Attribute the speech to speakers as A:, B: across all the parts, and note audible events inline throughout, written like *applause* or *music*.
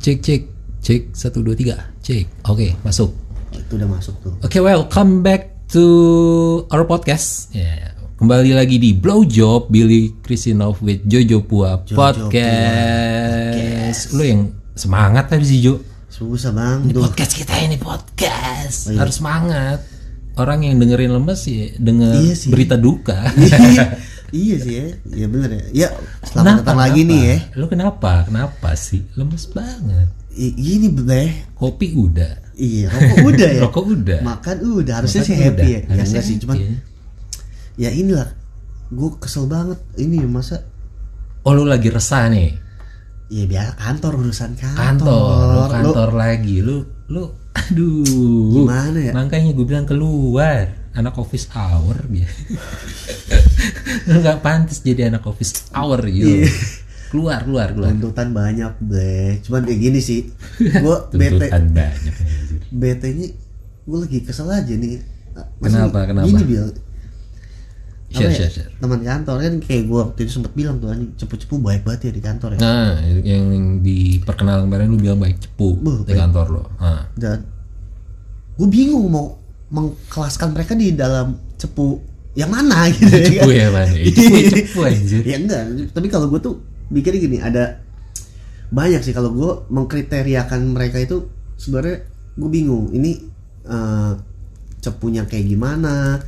A: Cek cek cek satu dua tiga cek. Oke masuk.
B: Nah, itu udah masuk tuh
A: Oke welcome back to our podcast. Ya, Kembali lagi di Blowjob Billy Krisinov with Jojo Pua podcast. Lu yang semangat tadi sih Jo.
B: susah bang tuh
A: Podcast kita ini podcast
B: Oh, iya.
A: harus semangat. Orang yang dengerin lemes ya denger
B: Iya sih.
A: berita duka.
B: *laughs* iya sih ya iya bener ya ya selamat datang lagi
A: kenapa?
B: nih ya
A: Lu kenapa? Kenapa sih? Lemes banget.
B: I- gini beh
A: Kopi udah.
B: iya rokok udah ya
A: Rokok udah.
B: makan udah harusnya
A: Makan
B: sih happy
A: udah.
B: ya ya
A: Harusnya
B: enggak sih
A: happy
B: cuman
A: ya.
B: ya inilah gue kesel banget ini masa
A: Oh lu lagi resah nih.
B: ya biar kantor urusan kantor
A: Kantor, kantor,
B: Lu
A: kantor lagi. Lu lu aduh.
B: gimana ya
A: Makanya gue bilang keluar anak office hour *laughs* dia. lu nggak pantas jadi anak office hour gitu.
B: Iya.
A: Keluar, keluar, keluar.
B: tuntutan banyak beh cuman ya gini
A: *laughs*
B: sih gue bete
A: Tuntutan banyak. anjir.
B: bete nya gue lagi kesel aja nih Ah,
A: Kenapa, kenapa?
B: gini Bil. Apa
A: Share,
B: ya,
A: share, share.
B: teman kantor kan kayak gue waktu itu sempet bilang tuh anjing cepu-cepu baik banget ya di kantor ya
A: Nah, yang di perkenalan kemarin lu bilang baik cepu
B: Buh,
A: di kantor lo.
B: *laughs*
A: Nah.
B: dan gue bingung mau mengkelaskan mereka di dalam cepu yang mana *laughs* gitu
A: Cepu
B: kan.
A: ya, Man. Cepu, cepu, anjir.
B: ya enggak tapi kalau gue tuh mikirnya gini ada banyak sih kalau gue mengkriteriakan mereka itu sebenarnya gue bingung ini eh, cepunya kayak gimana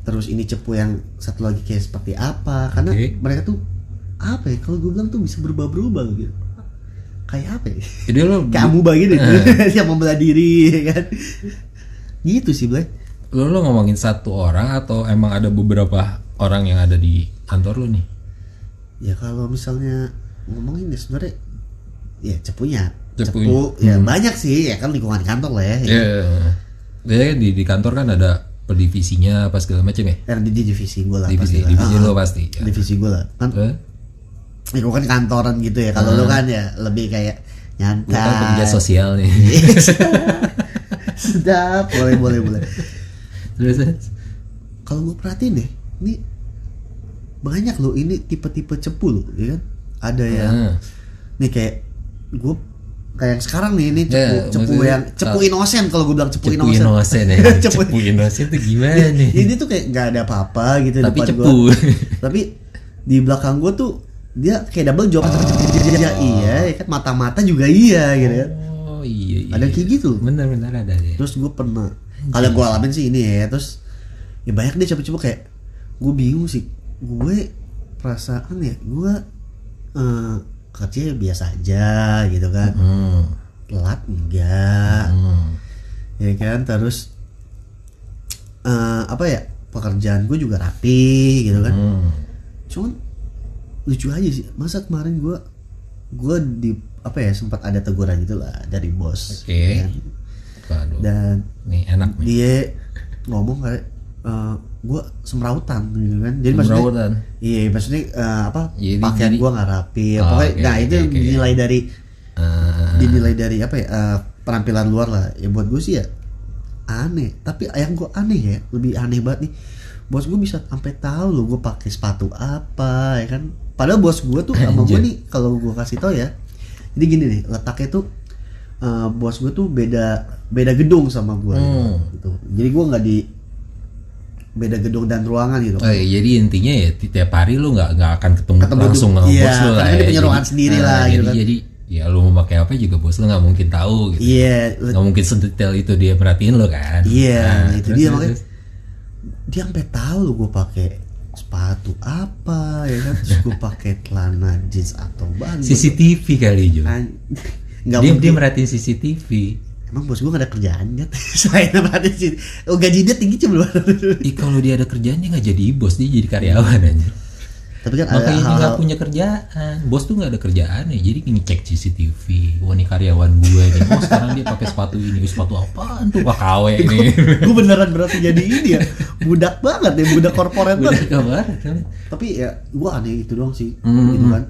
B: terus ini cepu yang satu lagi kayak seperti apa karena
A: Oke.
B: mereka tuh apa ya kalau gue bilang tuh bisa berubah-berubah gitu kayak apa ya *laughs*
A: Jadi lu
B: kayak amuba gitu *laughs* siap membelah diri ya kan gitu sih Blay
A: lu, lu ngomongin satu orang atau emang ada beberapa orang yang ada di kantor lu nih?
B: ya kalau misalnya ngomongin ya sebenarnya ya cepunya
A: Cepunya.
B: cepu ya
A: Hmm.
B: banyak sih ya kan lingkungan kantor lah ya
A: Iya. Jadi di di kantor kan ada perdivisinya apa segala macam ya.
B: Eh, di divisi gue lah
A: Divisi,
B: pasti lah.
A: divisi
B: Ah,
A: lo pasti. Ya. Ah.
B: divisi gue lah kan
A: Terus,
B: ya, gua kan kantoran gitu ya kalau lu kan ya lebih kayak
A: Lu
B: Nah.
A: kan pekerja
B: nyantai
A: sosial nih.
B: Iya. sedap boleh boleh boleh
A: *laughs* Terus terus.
B: kalau gue perhatiin deh ini banyak loh ini tipe-tipe cepu loh ya kan ada yang
A: Ah.
B: nih kayak gue kayak yang sekarang nih ini cepu,
A: Ya,
B: cepu
A: maksudnya-
B: yang cepu inosen kalau gue bilang cepu,
A: Cepu
B: inosen,
A: inosen
B: *laughs*
A: ya.
B: cepu,
A: Cepu inosen tuh gimana nih?
B: ini tuh kayak nggak ada apa-apa gitu di
A: Iya, Tapi
B: depan
A: cepu.
B: gua. tapi di belakang gue tuh dia kayak double job iya iya ya kan mata-mata juga iya gitu kan
A: Oh iya iya.
B: ada kayak gitu
A: Bener-bener ada ya.
B: terus gue pernah kalau gue alamin sih ini ya terus ya banyak deh coba-coba kayak gue bingung sih gue perasaan ya gue eh, kerja biasa aja gitu kan
A: Hmm.
B: telat enggak
A: hmm.
B: ya kan terus eh, apa ya pekerjaan gue juga rapi gitu kan
A: Hmm.
B: cuman lucu aja sih masa kemarin gue gue di apa ya sempat ada teguran gitu lah dari bos
A: Oke.
B: ya kan?
A: Waduh.
B: dan
A: Nih enak nih.
B: dia ngomong kayak gue semrawutan gitu kan jadi maksudnya
A: Semrawutan.
B: iya maksudnya eh, apa
A: Jadi-
B: pakaian
A: jadi-
B: gue nggak rapi
A: Iya, Oh,
B: pokoknya
A: oke,
B: nah
A: oke,
B: itu
A: oke.
B: dinilai dari
A: Ah.
B: *laughs* dinilai dari apa ya eh, penampilan luar lah ya buat gue sih ya aneh tapi yang gue aneh ya lebih aneh banget nih bos gue bisa sampai tahu loh gue pakai sepatu apa ya kan padahal bos gue tuh sama gue
A: Anjir.
B: nih kalau gue kasih tau ya jadi gini nih letaknya tuh eh, bos gue tuh beda beda gedung sama gue
A: Hmm.
B: gitu jadi gue nggak di beda gedung dan ruangan gitu
A: Oh, iya, jadi intinya ya ti- tiap hari lu nggak nggak akan ketemu,
B: Ketemu
A: langsung
B: du-
A: sama
B: iya,
A: bos lu lah
B: karena dia
A: ya.
B: punya
A: Jadi-
B: ruangan sendiri
A: ah,
B: lah, gitu
A: jadi,
B: kan.
A: jadi ya lu mau pakai apa juga bos lu nggak mungkin tahu gitu.
B: iya le-
A: Nggak mungkin sedetail itu dia perhatiin lu kan.
B: Iya,
A: Nah,
B: nah, itu
A: terus-
B: dia
A: terus-
B: makanya
A: terus.
B: dia sampai tahu lo gue pakai sepatu apa ya kan terus gue pakai celana jeans atau baju
A: CCTV kali Jo.
B: An- Ah, *laughs* nggak
A: Dia dia
B: mungkin
A: merhatiin CCTV.
B: emang bos gue gak ada kerjaan ya *laughs* selain berarti sih oh gaji dia tinggi cuma
A: Ih, kalau dia ada kerjaan dia nggak jadi bos, dia jadi karyawan aja.
B: *laughs* tapi kan ada
A: Makanya dia
B: hal-hal
A: nggak
B: *laughs*
A: punya kerjaan. Bos tuh nggak ada kerjaan ya, jadi ngecek CCTV. Wah, ini karyawan gue nih. Oh, sekarang dia pakai sepatu ini. Ih, Sepatu apaan tuh? Pak KW nih.
B: *laughs* gue beneran berarti jadi ini ya budak banget ya budak korporat
A: Udah
B: banget
A: kabar. kan?
B: tapi ya gue aneh itu doang sih
A: Mm,
B: gitu kan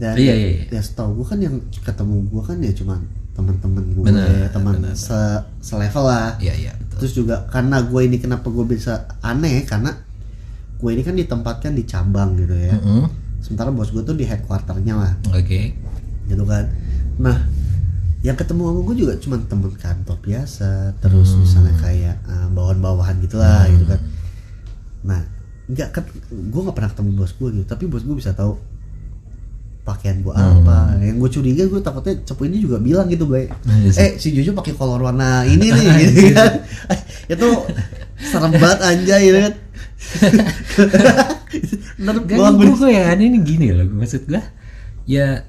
B: dan
A: Iya, iya, iya.
B: ya setahu gue kan yang ketemu gue kan ya cuman teman-teman gue
A: Bener,
B: teman
A: bener.
B: se- selevel lah
A: Iya, iya. betul.
B: terus juga karena gue ini kenapa gue bisa aneh karena gue ini kan ditempatkan di cabang gitu ya
A: Mm-mm.
B: sementara bos gue tuh di headquarternya lah
A: Oke.
B: gitu kan Nah, yang ketemu sama gue juga cuman temen kantor biasa, terus misalnya kayak eh, bawahan-bawahan gitulah gitu kan. Nah, nggak kan gue nggak pernah ketemu bos gue gitu, tapi bos gue bisa tahu pakaian gue apa. Yang gue curiga gue takutnya cepu ini juga bilang gitu, Blay.
A: Yes.
B: Eh, si Jojo pakai kolor warna ini nih gitu kan. *laughs* Itu serem banget anjay gitu kan. Ntar
A: Gak
B: gua
A: gue gue ya ini gini loh maksud gue ya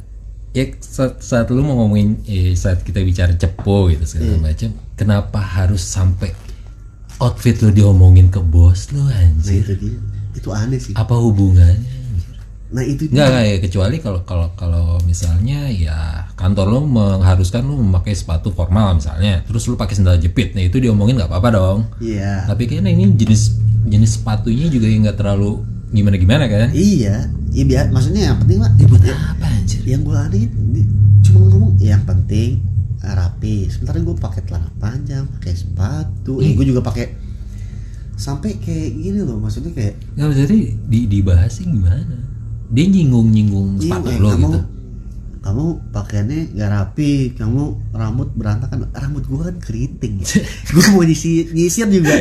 A: ya saat, saat lu mau ngomongin eh, saat kita bicara cepo gitu segala macam kenapa harus sampai outfit lu diomongin ke bos lu
B: Nah
A: anjir
B: itu dia. Itu aneh sih.
A: apa hubungannya
B: Nah itu dia.
A: Enggak, enggak ya kecuali kalau kalau kalau misalnya ya kantor lu mengharuskan lu memakai sepatu formal misalnya terus lu pakai sandal jepit nah itu diomongin nggak apa-apa dong
B: Iya.
A: tapi kan ini jenis jenis sepatunya juga yang nggak terlalu gimana gimana kan
B: Iya. Iya biar maksudnya yang penting lah.
A: ribut apa anjir
B: Yang gue aneh di- cuma ngomong "Iya, yang penting eh, rapi. Sebentar gue pakai celana panjang, pakai sepatu. Eh, gue juga pakai sampai kayak gini loh maksudnya kayak
A: Nggak jadi di, dibahasnya gimana? Dia nyinggung-nyinggung
B: "Ih,
A: sepatu
B: eh,
A: lo
B: kamu
A: gitu.
B: kamu pakaiannya gak rapi kamu rambut berantakan rambut gue kan keriting
A: *laughs*
B: ya. gue mau nyisir, nyisir juga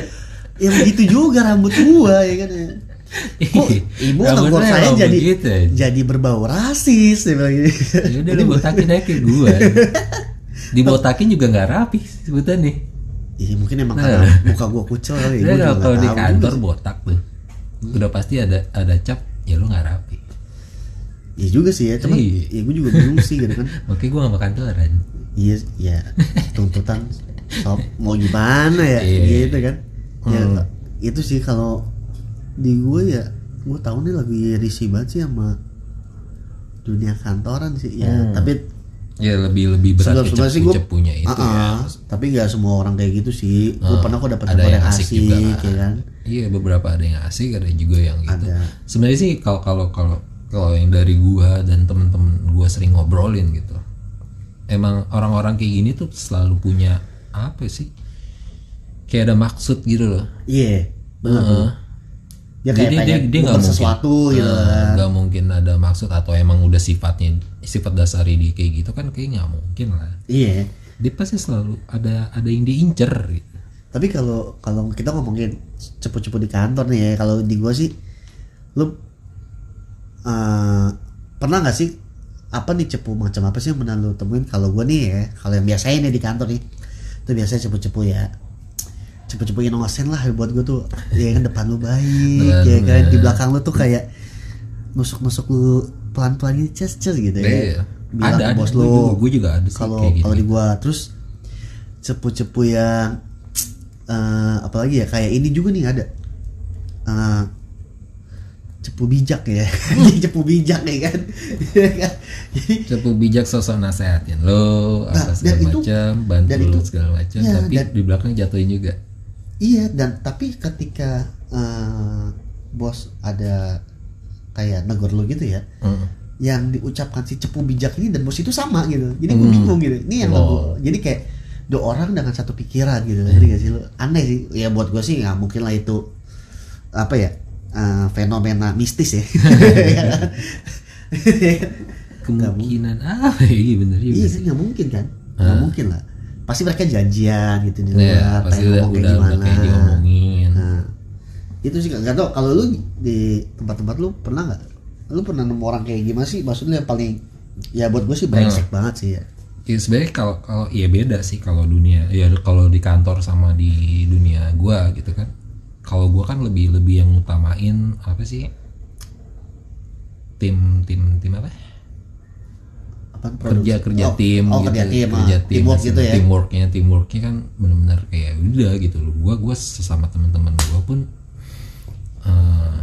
B: ya begitu juga rambut gue ya kan ya. kok ibu
A: Rambut
B: tegur
A: lo
B: saya
A: emang
B: jadi
A: begitu ya?
B: jadi berbau rasis dia
A: *laughs*
B: bilang gitu.
A: Ya udah lu botakin aja ke gue. Dibotakin juga nggak rapi sebutan nih.
B: Iya mungkin emang
A: Nah.
B: karena muka gua kucel kali
A: Dia
B: ya. Gua juga
A: kalau kalau
B: nggak
A: di
B: tahu
A: kantor
B: juga sih.
A: botak tuh, udah pasti ada ada cap. Ya lu nggak rapi.
B: Iya juga sih ya, cuman
A: Iya.
B: ya gua juga bingung sih gitu kan.
A: Makanya gue nggak makan kantoran.
B: Iya, ya tuntutan sob mau gimana
A: Iya.
B: ya
A: Hmm.
B: gitu kan. Ya itu sih kalau di gua ya gua tahu nih lagi risih banget sih sama dunia kantoran sih ya tapi
A: Ya lebih lebih Hmm. berat
B: sebelum
A: ke
B: sebelum sih
A: cepu
B: gua
A: cepunya itu ya. Ah,
B: Ah, ah. tapi nggak semua orang kayak gitu sih gua pernah kok dapet
A: ada
B: teman
A: yang
B: yang
A: asik
B: asik,
A: juga
B: ya kan
A: Iya beberapa ada yang asik ada juga yang gitu.
B: Ada.
A: Sebenarnya sih kalau kalau kalau kalau yang dari gua dan temen-temen gua sering ngobrolin gitu. Emang orang-orang kayak gini tuh selalu punya apa sih? Kayak ada maksud gitu loh.
B: iya bener
A: Heeh.
B: dia kayak
A: Jadi Ah. dia-
B: pengen
A: dia nggak
B: bukan
A: mungkin.
B: sesuatu gitu
A: Nah, nggak mungkin ada maksud atau emang udah sifatnya sifat dasar dia kayak gitu kan kayak nggak mungkin lah.
B: Iya.
A: Dia pasti selalu ada ada yang diincer gitu.
B: Tapi kalau kalau kita ngomongin cepu-cepu di kantor nih ya, kalau di gua sih lu eh, pernah nggak sih apa nih cepu macam apa sih yang pernah lu temuin kalau gua nih ya, kalau yang biasanya nih di kantor nih. Itu biasanya cepu-cepu ya. Cepu-cepu innocent lah buat gua tuh. Ya kan depan lu baik, ya kan di belakang lu tuh kayak nusuk-nusuk lu pelan-pelan gitu, ces ces gitu ya.
A: Iya.
B: Bilang
A: Ada,
B: ke
A: ada.
B: bos
A: Gua
B: lu.
A: juga- gua juga ada sih
B: Kalau
A: kayak gitu.
B: kalau di gua terus cepu-cepu yang eh apalagi ya kayak ini juga nih ada Eh, cepu bijak ya *laughs* cepu bijak ya kan Iya kan? Jadi,
A: Cepu bijak sosok nasehatin lo
B: Nah,
A: apa
B: dan
A: segala
B: itu-
A: macam, bantu
B: dan
A: lo
B: itu-
A: segala macam,
B: ya,
A: tapi
B: dan-
A: di belakang jatuhin juga.
B: iya dan tapi ketika eh, bos ada kayak negor lu gitu ya
A: Mm.
B: yang diucapkan si cepu bijak ini dan bos itu sama gitu jadi
A: Hmm.
B: gue bingung gitu ini yang gak gua- jadi kayak dua orang dengan satu pikiran gitu jadi gak sih lu? aneh sih ya buat gue sih nggak mungkin lah itu apa ya eh, fenomena
A: *laughs*
B: mistis ya
A: Kemungkinan ah iya bener juga.
B: iya
A: sih.
B: kan nggak mungkin kan nggak mungkin lah pasti mereka janjian gitu di luar
A: Ya, pasti udah
B: pengen ngomong
A: udah, udah kayak diomongin.
B: Nah, itu sih nggak tau kalau lu di tempat-tempat lu pernah nggak lu pernah nemu orang kayak gimana sih maksudnya yang paling ya buat gue sih
A: Nah.
B: brengsek banget sih ya
A: Ya, sebenarnya kalau kalau ya beda sih kalau dunia ya kalau di kantor sama di dunia gua gitu kan. Kalau gua kan lebih lebih yang utamain apa sih? Tim tim tim apa?
B: apa
A: kerja kerja
B: oh,
A: tim gitu, ya.
B: oh, kerja tim ah.
A: kerja tim
B: teamwork gitu ya
A: teamworknya teamworknya kan benar-benar kayak udah gitu loh gua gua sesama teman-teman gua pun eh,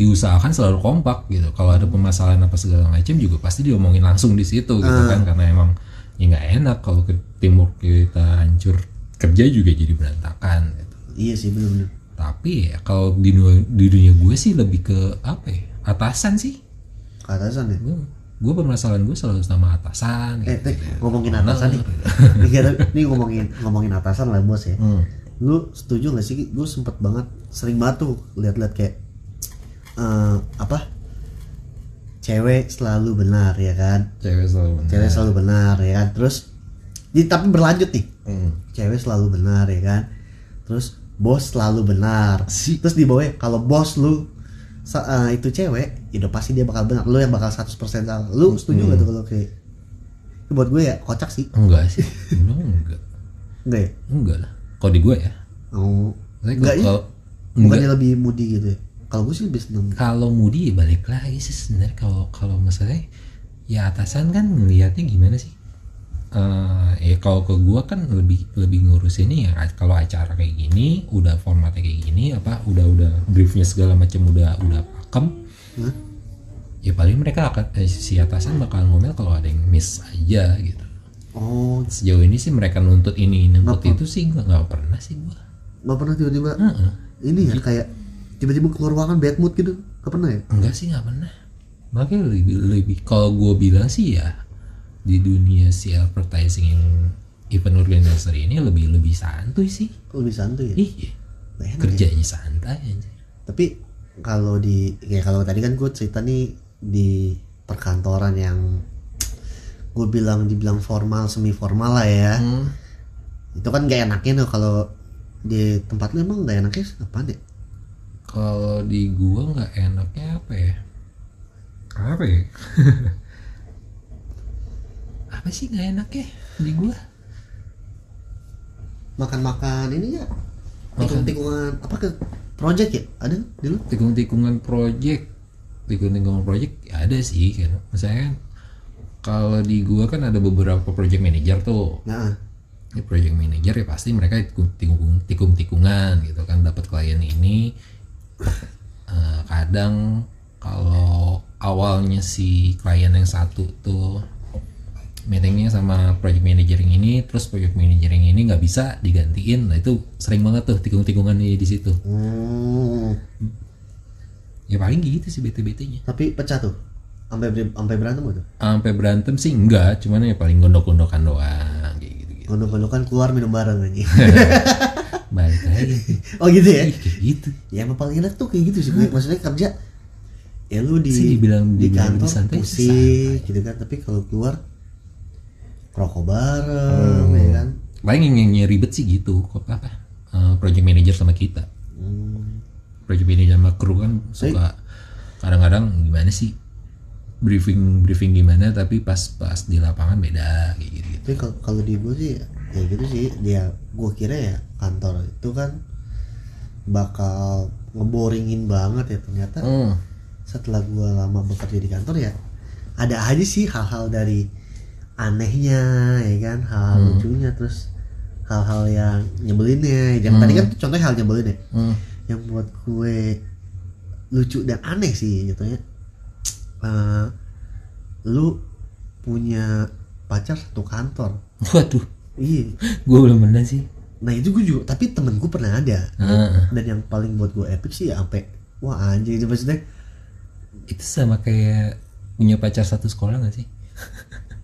A: diusahakan selalu kompak gitu kalau ada permasalahan apa segala macam juga pasti diomongin langsung di situ gitu
B: Hmm.
A: kan karena emang ya nggak enak kalau ke teamwork kita hancur kerja juga jadi berantakan gitu
B: iya sih bener bener
A: tapi ya, kalau di dunia, di dunia gue sih lebih ke apa ya atasan sih
B: ke atasan ya
A: gue gue permasalahan gue selalu sama atasan
B: eh
A: gitu.
B: teh ngomongin atasan nih Nih, kita- nih ngomongin ngomongin atasan lah bos ya
A: Hmm.
B: lu setuju gak sih gue sempet banget sering banget tuh lihat-lihat kayak eh, apa cewek selalu benar ya kan
A: cewek selalu benar.
B: cewek selalu benar ya kan terus di, tapi berlanjut nih
A: Hmm.
B: cewek selalu benar ya kan terus bos selalu benar
A: Si-
B: terus di bawahnya kalau bos lu sa- eh, itu cewek ya udah pasti dia bakal benar lu yang bakal 100% salah lu setuju nggak tuh kalau kayak itu buat gue ya kocak sih
A: enggak sih Lu enggak
B: enggak ya
A: enggak lah kalau di gue ya
B: oh
A: Saya
B: enggak ya
A: kalau enggak
B: bukannya lebih moody gitu ya kalau gue sih lebih seneng
A: kalau Moody ya balik lagi sih sebenarnya kalau kalau masalahnya ya atasan kan ngelihatnya gimana sih Eh, ya kalau ke gua kan lebih lebih ngurusinnya ya kalau acara kayak gini udah formatnya kayak gini apa udah udah briefnya segala macam udah udah pakem
B: Hah?
A: ya paling mereka akan eh, si atasan bakal ngomel kalau ada yang miss aja gitu
B: oh
A: sejauh ini sih mereka nuntut ini nuntut
B: Nggak
A: itu sih gua nggak pernah sih gua
B: nggak pernah tiba-tiba
A: Heeh.
B: ini ya kayak tiba-tiba keluar ruangan bad mood gitu nggak pernah ya
A: Enggak sih nggak pernah. Makanya lebih lebih kalau gue bilang sih ya di dunia si advertising yang event organizer ini lebih lebih santuy sih.
B: lebih santuy ya
A: Iya.
B: Nah, enak ya.
A: Kerjanya santai aja.
B: tapi kalau di ya kalau tadi kan gue cerita nih di perkantoran yang gue bilang dibilang formal semi formal lah ya itu kan gak enaknya tuh kalau di tempat lu emang gak enaknya apa deh
A: Kalau di gua nggak enaknya apa ya? Apa ya? *laughs* apa sih nggak enaknya di gua?
B: makan-makan ini ya tikung-tikungan apa ke project ya ada dulu
A: tikung-tikungan project tikung-tikungan project ya ada sih kan misalnya kan, kalau di gua kan ada beberapa project manager tuh
B: nah
A: ya project manager ya pasti mereka tikung- tikung tikungan gitu kan dapat klien ini Eh, kadang kalau awalnya si klien yang satu tuh meetingnya sama project manager yang ini terus project manager yang ini nggak bisa digantiin nah itu sering banget tuh tikung-tikungan di di situ
B: hmm,
A: ya paling gitu sih bete-betenya
B: tapi pecah tuh sampai ber- sampai berantem tuh
A: sampai berantem sih enggak cuman ya paling gondok-gondokan doang kayak gitu gitu
B: gondok-gondokan keluar minum bareng aja
A: balik lagi
B: oh gitu ya
A: Ih, kayak gitu
B: ya emang paling enak tuh kayak gitu sih Gue. maksudnya kerja ya lu di
A: Sih, dibilang-
B: di
A: dibilang
B: kantor
A: lebih santai,
B: pusing gitu kan tapi kalau keluar rokok bareng
A: Hmm.
B: ya kan
A: paling yang, yang- yang ribet sih gitu kok apa eh, project manager sama kita
B: Hmm.
A: project manager sama kru kan suka kadang-kadang gimana sih briefing briefing gimana tapi pas pas di lapangan beda kayak gitu,
B: tapi kalau kalau di gue sih ya gitu sih dia gue kira ya kantor itu kan bakal ngeboringin banget ya ternyata setelah gue lama bekerja di kantor ya ada aja sih hal-hal dari anehnya ya kan hal lucunya terus hal-hal yang nyebelinnya yang tadi kan contohnya hal nyebelin ya yang buat gue lucu dan aneh sih jatuhnya Eh, lu punya pacar satu kantor
A: *laughs* waduh
B: iya
A: gue belum pernah sih
B: nah itu gue juga tapi temen gue pernah ada
A: Ah,
B: dan yang paling buat gue epic sih ya sampai wah anjing maksudnya
A: itu sama kayak punya pacar satu sekolah gak sih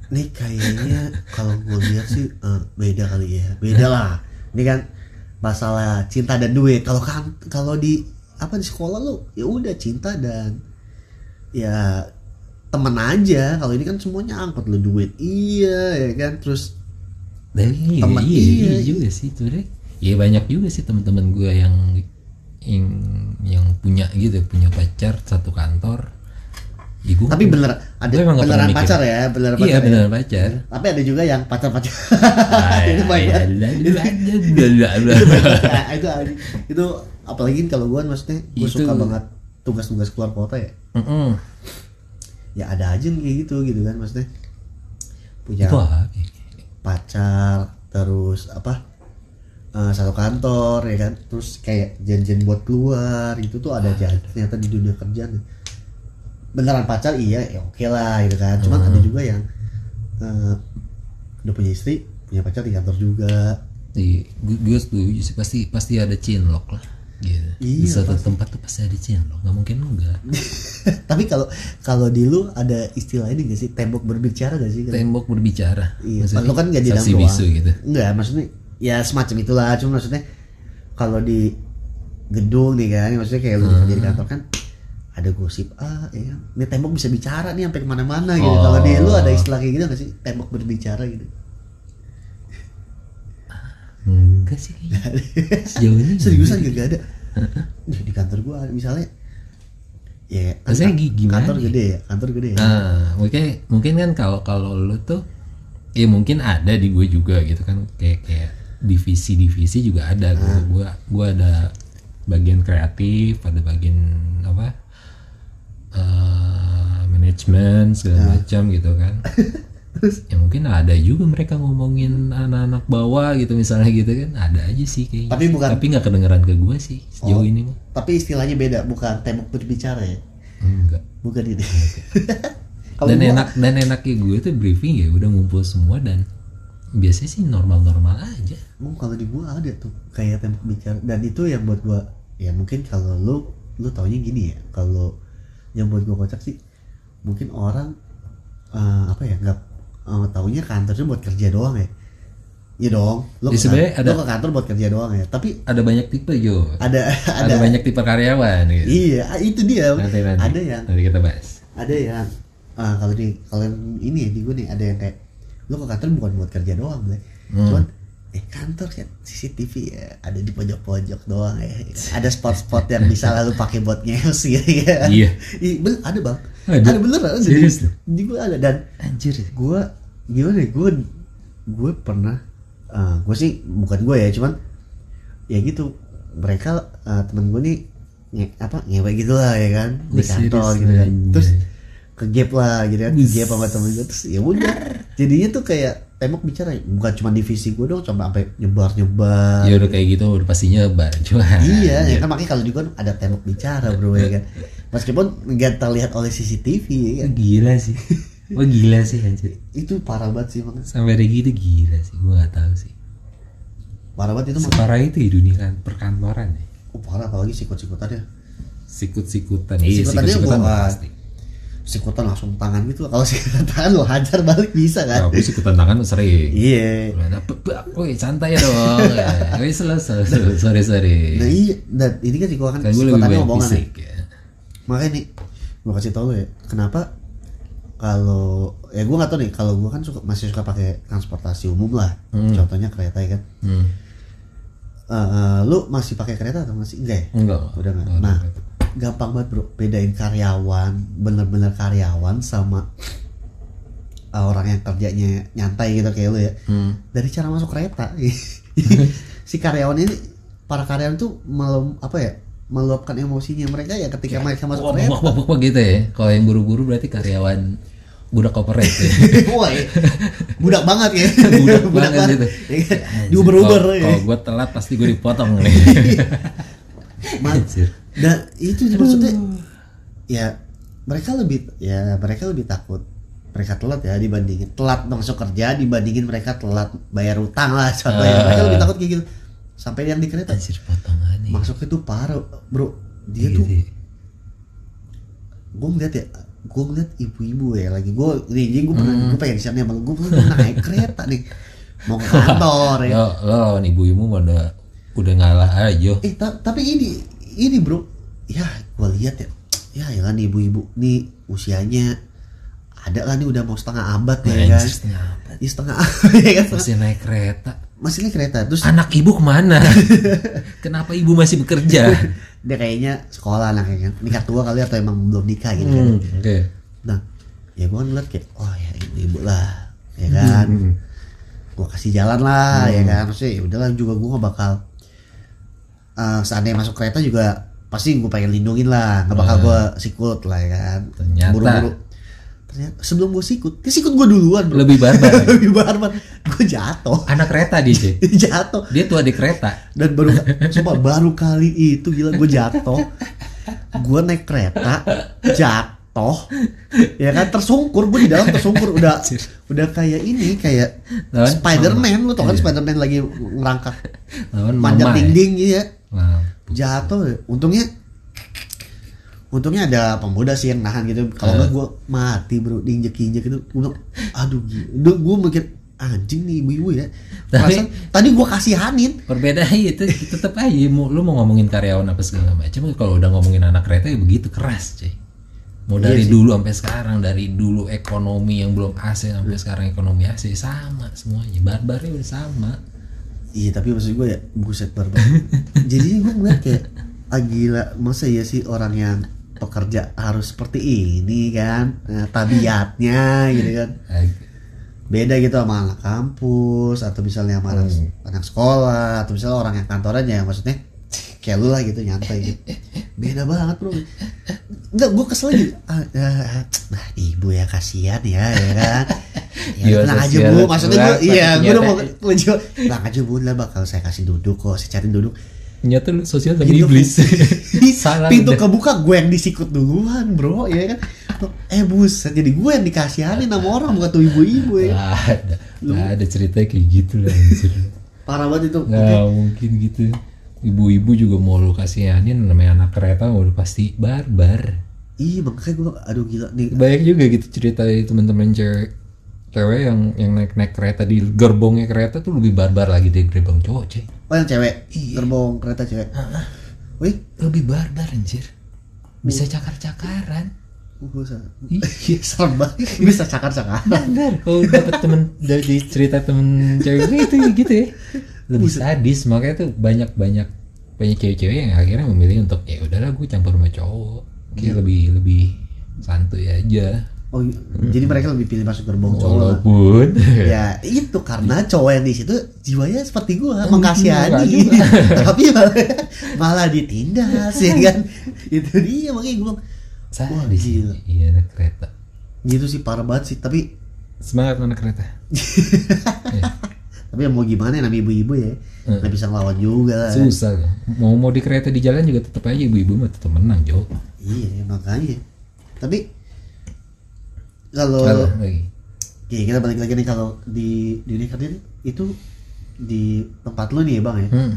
B: Ini kayaknya kalau gue lihat sih eh, beda kali ya, beda lah. Ini kan masalah cinta dan duit. Kalau kan kalau di apa di sekolah lu ya udah cinta dan ya temen aja. Kalau ini kan semuanya angkut lu duit, iya ya kan. Terus
A: Dan iya,
B: Temen,
A: iya,
B: iya.
A: iya juga sih sebenarnya. Iya banyak juga sih teman-teman gue yang yang yang punya gitu punya pacar satu kantor. Ya, gua-
B: tapi bener ada
A: Gua emang nggak
B: beneran
A: pernah
B: pacar ya, beneran pacar.
A: Iya
B: ya.
A: beneran pacar. Ah,
B: Tapi ada juga yang pacar-pacar.
A: Ay,
B: *laughs* Itu
A: ay,
B: banyak.
A: iya. ay,
B: Nah, itu itu apalagi kalau gue maksudnya gue
A: Itu-
B: suka banget tugas-tugas keluar kota ya.
A: Mm-mm.
B: ya ada aja yang kayak gitu gitu kan maksudnya punya
A: Itu apa? ya?
B: pacar terus apa eh, satu kantor ya kan terus kayak janjian buat keluar itu tuh ada aja ternyata di dunia kerjaan beneran pacar iya ya oke lah gitu kan cuman
A: Hmm.
B: ada juga yang eh, udah punya istri punya pacar di kantor juga *laughs*
A: Iya, gue, gue setuju sih pasti pasti ada cinlok lah. Gitu. Di
B: Iya,
A: suatu tempat tuh pasti ada cinlok, nggak mungkin enggak.
B: tapi kalau kalau di lu ada istilah ini gak sih tembok berbicara gak sih
A: Tembok berbicara.
B: Iya,
A: Maksudnya
B: lu kan nggak di dalam
A: saksi
B: doang.
A: bisu gitu.
B: Enggak, maksudnya ya semacam itulah. Cuma
A: Hmm.
B: maksudnya kalau di gedung nih kan, maksudnya kayak lu kerja di kantor kan ada gosip ah ya kan? ini tembok bisa bicara nih sampai kemana-mana gitu kalau di lu
A: Oh.
B: ada istilah kayak gitu nggak sih tembok berbicara gitu
A: Enggak sih
B: *laughs*
A: kayaknya. Sejauh ini.
B: seriusan gak,
A: *laughs*
B: gak ada di, di kantor gua misalnya ya kan
A: Maksudnya
B: ka-
A: gi- gimana
B: kantor
A: ya?
B: gede ya kantor gede ya
A: Nah, mungkin mungkin kan kalau kalau lu tuh ya mungkin ada di gue juga gitu kan kayak kayak divisi-divisi juga ada gitu.
B: Ah.
A: Gua gua ada bagian kreatif, ada bagian apa? eh manajemen
B: Ah.
A: segala macam gitu kan. ya mungkin ada juga mereka ngomongin anak-anak bawah gitu misalnya gitu kan ada aja sih kayaknya
B: Tapi bukan- Oh.
A: tapi nggak kedengeran ke gue sih sejauh ini mah
B: tapi istilahnya beda bukan tembok berbicara ya
A: enggak
B: bukan ini *laughs* kalau
A: dan
B: gua-
A: enak dan enaknya gue tuh briefing ya udah ngumpul semua dan biasanya sih normal-normal aja
B: Emang kalau di gua ada tuh kayak tembok bicara dan itu yang buat gua ya mungkin kalau lu lu taunya gini ya kalau yang buat gua kocak sih mungkin orang eh, apa ya nggak eh, taunya kantornya buat kerja doang ya Iya dong,
A: Ya,
B: lu, ke
A: sebenarnya
B: kantor,
A: ada-
B: lu ke kantor buat kerja doang ya. Tapi
A: ada banyak tipe Jo
B: ada *laughs*
A: ada,
B: ada,
A: banyak tipe karyawan gitu
B: iya itu dia.
A: nanti nanti
B: Ada yang
A: nanti kita bahas
B: ada yang ah, kalau di kalau yang ini ya, di gue nih ada yang kayak lu ke kantor bukan buat kerja doang Blay.
A: Hmm.
B: cuman eh kantor ya CCTV ya ada di pojok-pojok doang ya ada spot-spot yang bisa lalu pakai buat ngeos ya, ya.
A: Iya.
B: *laughs* Ih, ben- ada bang
A: Ada.
B: ada, bener ada di,
A: Serius lu?
B: di gue ada dan
A: anjir
B: gue gimana ya gue gue pernah eh gue sih bukan gue ya cuman ya gitu mereka eh, temen gue nih nge, apa ngewe gitu lah ya kan di
A: Wih,
B: kantor
A: serius,
B: gitu kan
A: anjay.
B: terus ke gap lah gitu kan
A: Wih.
B: ke gap sama temen gue terus ya udah jadinya tuh kayak tembok bicara bukan cuma divisi gue dong coba sampai nyebar nyebar
A: ya udah kayak gitu udah pastinya nyebar cuma
B: iya ya kan makanya kalau di gue ada tembok bicara bro *laughs* ya kan meskipun nggak terlihat oleh CCTV ya kan
A: gila
B: *laughs*
A: sih wah gila sih anjir
B: itu parah banget sih makanya
A: sampai ada gitu gila sih gue nggak tahu sih
B: parah banget itu mak-
A: separah itu ya dunia kan perkantoran ya
B: oh, parah apalagi sikut-sikutan ya
A: sikut-sikutan iya
B: Sikut-sikutannya
A: sikut-sikutan
B: bukan.
A: pasti
B: sikutan langsung tangan gitu kalau *laughs* sikutan tangan lo hajar balik bisa kan
A: tapi Ya, sikutan tangan sering
B: iya
A: Bulan apa? Bak, woi santai
B: *laughs*
A: dong. Ya, Woi slow slow slow. Sorry sorry.
B: nah iya dan ini kan sikutan
A: Kan gue lebih
B: sikutannya
A: banyak
B: omongan
A: fisik
B: ya
A: ya.
B: makanya nih gue kasih tau lo ya kenapa kalau ya gue nggak tau nih kalau gue kan suka masih suka pakai transportasi umum lah contohnya kereta ya kan
A: Hmm.
B: Eh, eh, lu masih pakai kereta atau masih enggak ya?
A: Enggak.
B: udah nggak
A: Enggak,
B: nah
A: enggak.
B: gampang banget bro bedain karyawan bener-bener karyawan sama uh, orang yang kerjanya nyantai gitu kayak lu ya
A: Hmm.
B: dari cara masuk kereta *laughs* si karyawan ini para karyawan tuh melum apa ya meluapkan emosinya mereka ya ketika mereka
A: Wah,
B: masuk kereta
A: wah, wah, wah, wah, gitu ya. Kalau yang buru-buru berarti karyawan budak corporate ya.
B: *laughs* Wah, ya. *laughs* budak banget ya
A: *laughs*
B: *laughs*
A: budak banget gitu.
B: Ya kan? diuber-uber
A: Kalau-
B: ya.
A: Kalau gue telat pasti gue dipotong nih.
B: Man-
A: Anjir.
B: Dan itu sih *laughs* maksudnya ya mereka lebih ya mereka lebih takut mereka telat ya dibandingin telat masuk kerja dibandingin mereka telat bayar utang lah contohnya mereka lebih takut kayak gitu sampai yang di kereta
A: Anjir potongan nih.
B: masuk itu parah bro dia
A: Gitu
B: tuh
A: ya.
B: gue ngeliat ya gue ngeliat ibu-ibu ya lagi gue nih jadi gue pernah gue pengen share nih sama gue pernah naik kereta nih mau ke kantor ya
A: Lo lo lawan ibu-ibu mah udah udah ngalah aja.
B: Eh ta- tapi ini ini bro, ya gua lihat ya, ya ya nih ibu-ibu nih usianya ada lah nih udah mau setengah abad ya kan,
A: Anjir, setengah abad.
B: Ih, setengah abad *laughs* ya kan,
A: Masih naik kereta.
B: masih naik kereta terus
A: Anak ibu
B: *laughs*
A: kemana? Kenapa ibu masih bekerja?
B: dia kayaknya sekolah anaknya kan, nikah tua kali atau emang belum nikah gitu kan.
A: Hmm, Oke.
B: Nah, ya gua ngeliat kayak, oh ya ibu-ibu lah, ya kan,
A: Hmm.
B: gua kasih jalan lah, ya kan, maksudnya ya udahlah juga gua gak bakal eh, seandainya masuk kereta juga pasti gue pengen lindungin lah, gak bakal gua sikut lah ya kan,
A: Ternyata.
B: buru-buru. Ternyata sebelum gue sikut, ke sikut gue duluan bro.
A: Lebih barbar.
B: *laughs* Lebih barbar, gue jatuh,
A: *laughs*
B: *laughs*
A: Anak kereta dia, Ci.
B: jatuh
A: Dia tua di kereta.
B: dan baru sumpah baru kali itu gila gue jatuh gue naik kereta jatuh ya kan tersungkur gue di dalam tersungkur udah
A: Anjir.
B: udah kayak ini kayak
A: Lawan
B: Spiderman lu tau kan
A: Iya.
B: Spiderman lagi ngerangkak
A: Lawan
B: panjang
A: mama. Nah,
B: dinding gitu ya
A: Wow.
B: jatuh untungnya untungnya ada pemuda sih yang gitu. nahan gitu kalau nggak gue mati bro diinjek injek itu gue bilang aduh gue mikir anjing nih ibu-ibu ya
A: Tapi-
B: Perasaan, tadi gua kasihanin
A: perbedaan *laughs* itu tetap aja mau- lu mau ngomongin karyawan apa segala macam kalau udah ngomongin anak kereta ya begitu keras cuy mau
B: Iya
A: dari
B: sih.
A: dulu sampai sekarang dari dulu ekonomi yang belum AC sampai sekarang ekonomi AC sama semuanya barbarnya udah sama
B: Iya tapi maksud gue ya buset barbar. Jadi gue ngeliat kayak ah gila masa ya sih orang yang pekerja harus seperti ini kan Nah, tabiatnya gitu kan
A: Ag-
B: beda gitu sama anak kampus atau misalnya sama anak, anak sekolah atau misalnya orang yang kantoran ya maksudnya kayak lu lah gitu nyantai gitu beda banget bro enggak gue kesel gitu ah, ah, ah, nah ibu ya kasihan ya ya kan
A: Jiwa
B: ya, tenang aja
A: sosial
B: bu maksudnya gue
A: keras,
B: iya
A: sakit
B: gue udah mau
A: nyata.
B: mencoba tenang aja bu lah bakal saya kasih duduk kok saya cari duduk
A: ternyata lu sosial sama
B: Pintu-
A: iblis *laughs* salah
B: pintu
A: udah.
B: kebuka gue yang disikut duluan bro ya kan eh buset jadi gue yang dikasihanin sama orang bukan tuh ibu-ibu ya
A: Nggak ada nggak ada cerita kayak gitu lah anjir.
B: parah banget itu
A: nggak mungkin gitu ibu-ibu juga mau lu kasihanin namanya anak kereta udah pasti barbar
B: Iya makanya gue aduh gila nih
A: banyak juga gitu cerita dari teman-teman cewek cewek yang yang naik naik kereta di gerbongnya kereta tuh lebih barbar lagi dari gerbong cowok cuy
B: Oh yang cewek Gerbong kereta cewek Wih
A: lebih barbar anjir bisa cakar cakaran
B: Gue serem *laughs*
A: iya
B: Serem banget Bisa cakar-cakar
A: benar kalau Oh, dapet temen dari cerita temen cewek gue itu gitu ya lebih sadis makanya tuh banyak banyak banyak cewek-cewek yang akhirnya memilih untuk ya udahlah gue campur sama cowok kayak lebih lebih santuy aja
B: Oh iya. jadi mereka lebih pilih masuk
A: Oh,
B: gerbong cowok lah.
A: walaupun
B: Ya itu karena cowok yang di situ jiwanya seperti gue mengkasihani,
A: enggak
B: *laughs* tapi malah, malah ditindas ya kan. itu dia makanya gue
A: *laughs* sadis
B: gila.
A: iya naik kereta
B: gitu sih parah banget sih. Tapi
A: Semangat anak kereta.
B: tapi ya mau gimana namanya ibu-ibu ya, nggak bisa ngelawan juga. lah.
A: Susah loh. Mau mau di kereta di jalan juga tetap aja ibu-ibu mah tetap menang Jo.
B: Iya makanya. Tapi kalau
A: Kalah lagi.
B: Oke, kita balik lagi nih kalau di di Unicorn ini, itu di tempat lu nih ya bang ya.
A: Hmm.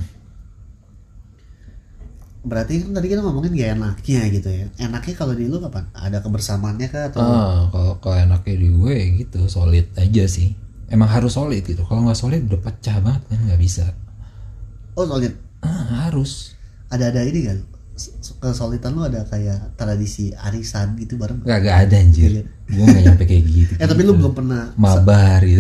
B: Berarti kan tadi kita ngomongin gak enaknya gitu ya. Enaknya kalau di lu kapan? Ada kebersamaannya kah atau?
A: Ah, kalau kalau enaknya di gue ya gitu solid aja sih. Emang harus solid gitu. Kalau nggak solid udah pecah banget kan nggak bisa. Eh.
B: Oh solid.
A: Ah, harus.
B: Ada ada ini kan? Kesolidan lu ada kayak tradisi arisan gitu bareng.
A: Gak, gak ada anjir. gue nggak nyampe
B: *laughs*
A: kayak gitu.
B: Iya. Eh tapi lu belum pernah.
A: mabar
B: *laughs*
A: gitu,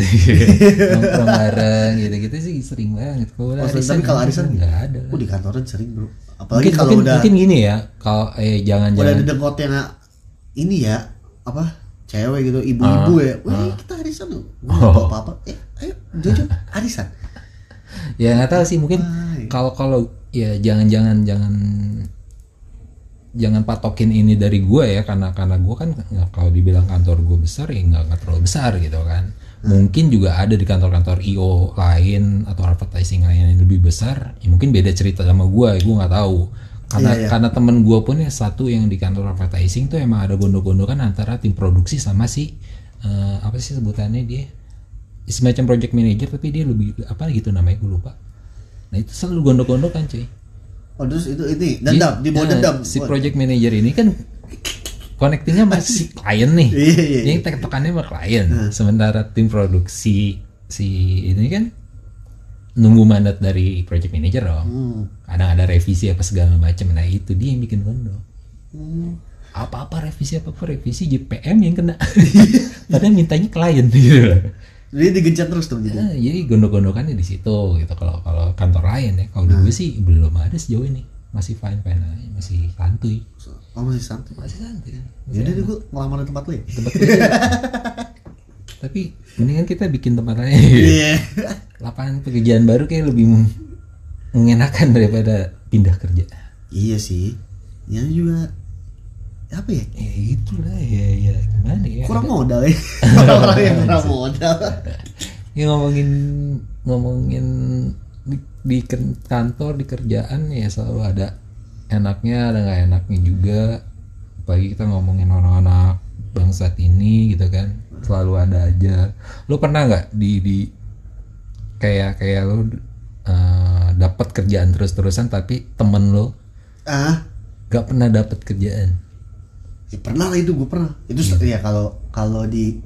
A: nongkrong bareng gitu-gitu sih sering banget. Kalau
B: Oh, solid. tapi kalau arisan
A: nggak ada.
B: Oh di kantoran sering bro. Apalagi
A: Mungkin,
B: kalau
A: mungkin,
B: udah
A: mungkin gini ya, kalau eh
B: udah
A: jangan-jangan
B: ada dengkotnya ah, ini ya apa cewek gitu ibu-ibu ya. Wih kita arisan lu.
A: Ah. Oh.
B: Apa apa? Eh ayo jojo arisan.
A: ya nggak tahu sih mungkin
B: Ah.
A: kalau kalau ya jangan-jangan jangan jangan patokin ini dari gue ya karena karena gue kan ya, kalau dibilang kantor gue besar ya nggak nggak terlalu besar gitu kan mungkin juga ada di kantor-kantor io lain atau advertising lain yang lebih besar ya mungkin beda cerita sama gue gue nggak tahu karena
B: Iya, iya.
A: karena temen gue pun ya satu yang di kantor advertising tuh emang ada gondok-gondokan antara tim produksi sama si eh, apa sih sebutannya dia semacam project manager tapi dia lebih apa gitu namanya gue lupa nah itu selalu gondok-gondokan cuy
B: Oh terus itu ini dendam, di bawah
A: Nah,
B: dendam.
A: si project manager ini kan connectingnya masih klien nih
B: Iya, iya, Nah.
A: ini tektokannya sama klien sementara tim produksi si ini kan nunggu mandat dari project manager dong kadang ada revisi apa segala macam nah itu dia yang bikin gondok
B: Hmm.
A: apa-apa revisi apa-apa revisi JPM yang kena *laughs* padahal mintanya klien gitu loh
B: Jadi digencet terus gitu. dong jadi.
A: Nah, jadi gondok-gondokannya di situ gitu kalau kalau kantor lain ya. Kalau di
B: Nah.
A: gue sih belum ada sejauh ini. Masih fine fine aja, masih santuy.
B: Oh masih santai.
A: Masih santuy.
B: Jadi
A: Iya.
B: deh gue ngelamar di tempat lu ya.
A: Tempat kerja.
B: *laughs*
A: Tapi mendingan kita bikin tempat lain.
B: Iya. *laughs*
A: Lapangan pekerjaan baru kayak lebih meng- mengenakan daripada pindah kerja.
B: Iya sih. Yang juga apa ya?
A: Ya itulah ya ya gimana ya.
B: Kurang modal
A: *laughs*
B: ya. Orang
A: Iya
B: yang kurang modal.
A: ya ngomongin ngomongin di, di ken- kantor di kerjaan ya selalu ada enaknya ada nggak enaknya juga apalagi kita ngomongin anak-anak bangsat ini gitu kan selalu ada aja lu pernah nggak di di kayak kayak lu eh, dapat kerjaan terus-terusan tapi temen lu
B: Ah,
A: nggak pernah dapat kerjaan Iya.
B: ya pernah lah itu gue pernah. Itu ya kalau kalau di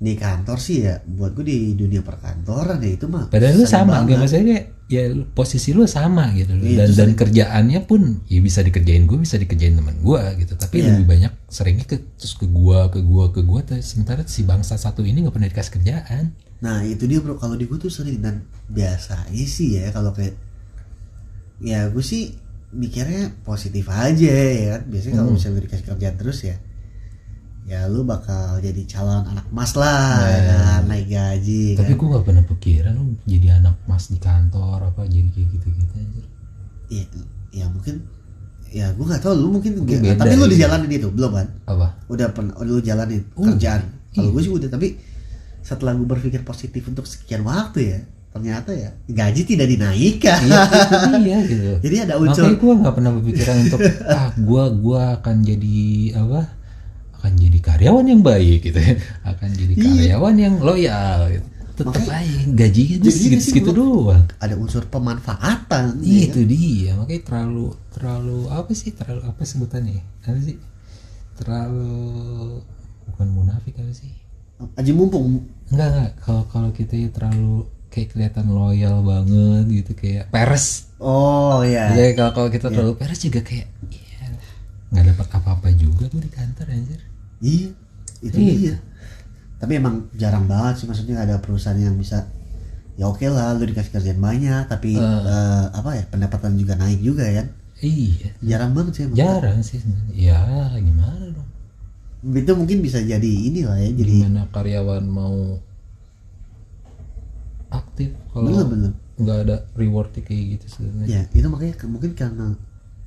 B: di kantor sih ya buat gue di dunia perkantoran ya itu mah
A: Padahal lu
B: seneng
A: sama,
B: banget.
A: nggak maksudnya kayak, ya lu- posisi lu sama gitu loh.
B: Iya,
A: dan
B: itu
A: dan
B: sering.
A: kerjaannya pun ya bisa dikerjain gue, bisa dikerjain teman gue gitu. Tapi
B: Iya.
A: lebih banyak seringnya ke terus ke gua, ke gua, ke gua. Terus sementara si bangsa satu ini nggak pernah dikasih kerjaan.
B: Nah itu dia bro kalau di gue tuh sering dan biasa sih ya kalau kayak ya gue sih mikirnya positif aja ya kan biasanya kalau
A: Hmm.
B: misalnya lu dikasih kerjaan terus ya ya lu bakal jadi calon anak mas lah ya
A: Nah.
B: kan naik gaji
A: Tapi
B: kan
A: gue nggak pernah pikiran lu jadi anak mas di kantor apa jadi kayak gitu-gitu anjir.
B: ya, ya mungkin ya gue nggak tahu lu mungkin,
A: Mungkin
B: nggak-
A: beda,
B: tapi lu
A: iya.
B: dijalanin itu belum kan
A: Apa?
B: *laughs* udah pernah udah lu jalanin
A: Udah,
B: kerjaan kalau
A: iya.
B: gue sih udah tapi setelah gue berpikir positif untuk sekian waktu ya ternyata ya gaji tidak dinaikkan
A: Iya, itu dia gitu.
B: *laughs* Jadi ada
A: Makanya
B: unsur
A: gue nggak pernah berpikiran
B: *laughs*
A: untuk ah gue gua akan jadi apa? Akan jadi karyawan yang baik gitu. ya. Akan jadi
B: Iya.
A: karyawan yang loyal. Gitu. Tetap
B: Makanya-
A: aja gajinya
B: Jadinya
A: tuh segitu,
B: sih
A: segitu
B: gua-
A: doang.
B: ada unsur pemanfaatan ya
A: Iya, Itu dia. Makanya terlalu terlalu apa sih? Terlalu apa sebutannya? ya? Apa sih? Terlalu bukan munafik apa sih?
B: kan? aja mumpung
A: Enggak enggak. Kalau kalau kita ya terlalu kayak kelihatan loyal banget gitu kayak peres
B: oh ya
A: Jadi Iya, kalau kalau kita terlalu peres juga kayak iya nggak dapat apa-apa juga gue di kantor anjir.
B: iya itu
A: Iya.
B: dia tapi emang jarang banget sih maksudnya ada perusahaan yang bisa ya oke lah lu dikasih kerjaan banyak tapi eh, apa ya pendapatan juga naik juga ya
A: Iya.
B: jarang banget sih emang.
A: Jarang sih sebenarnya. Ya gimana dong?
B: itu mungkin bisa jadi inilah ya jadi
A: Gimana karyawan mau aktif
B: belum
A: kalau
B: belum
A: nggak ada reward kayak gitu sebenarnya.
B: ya itu makanya ke- mungkin karena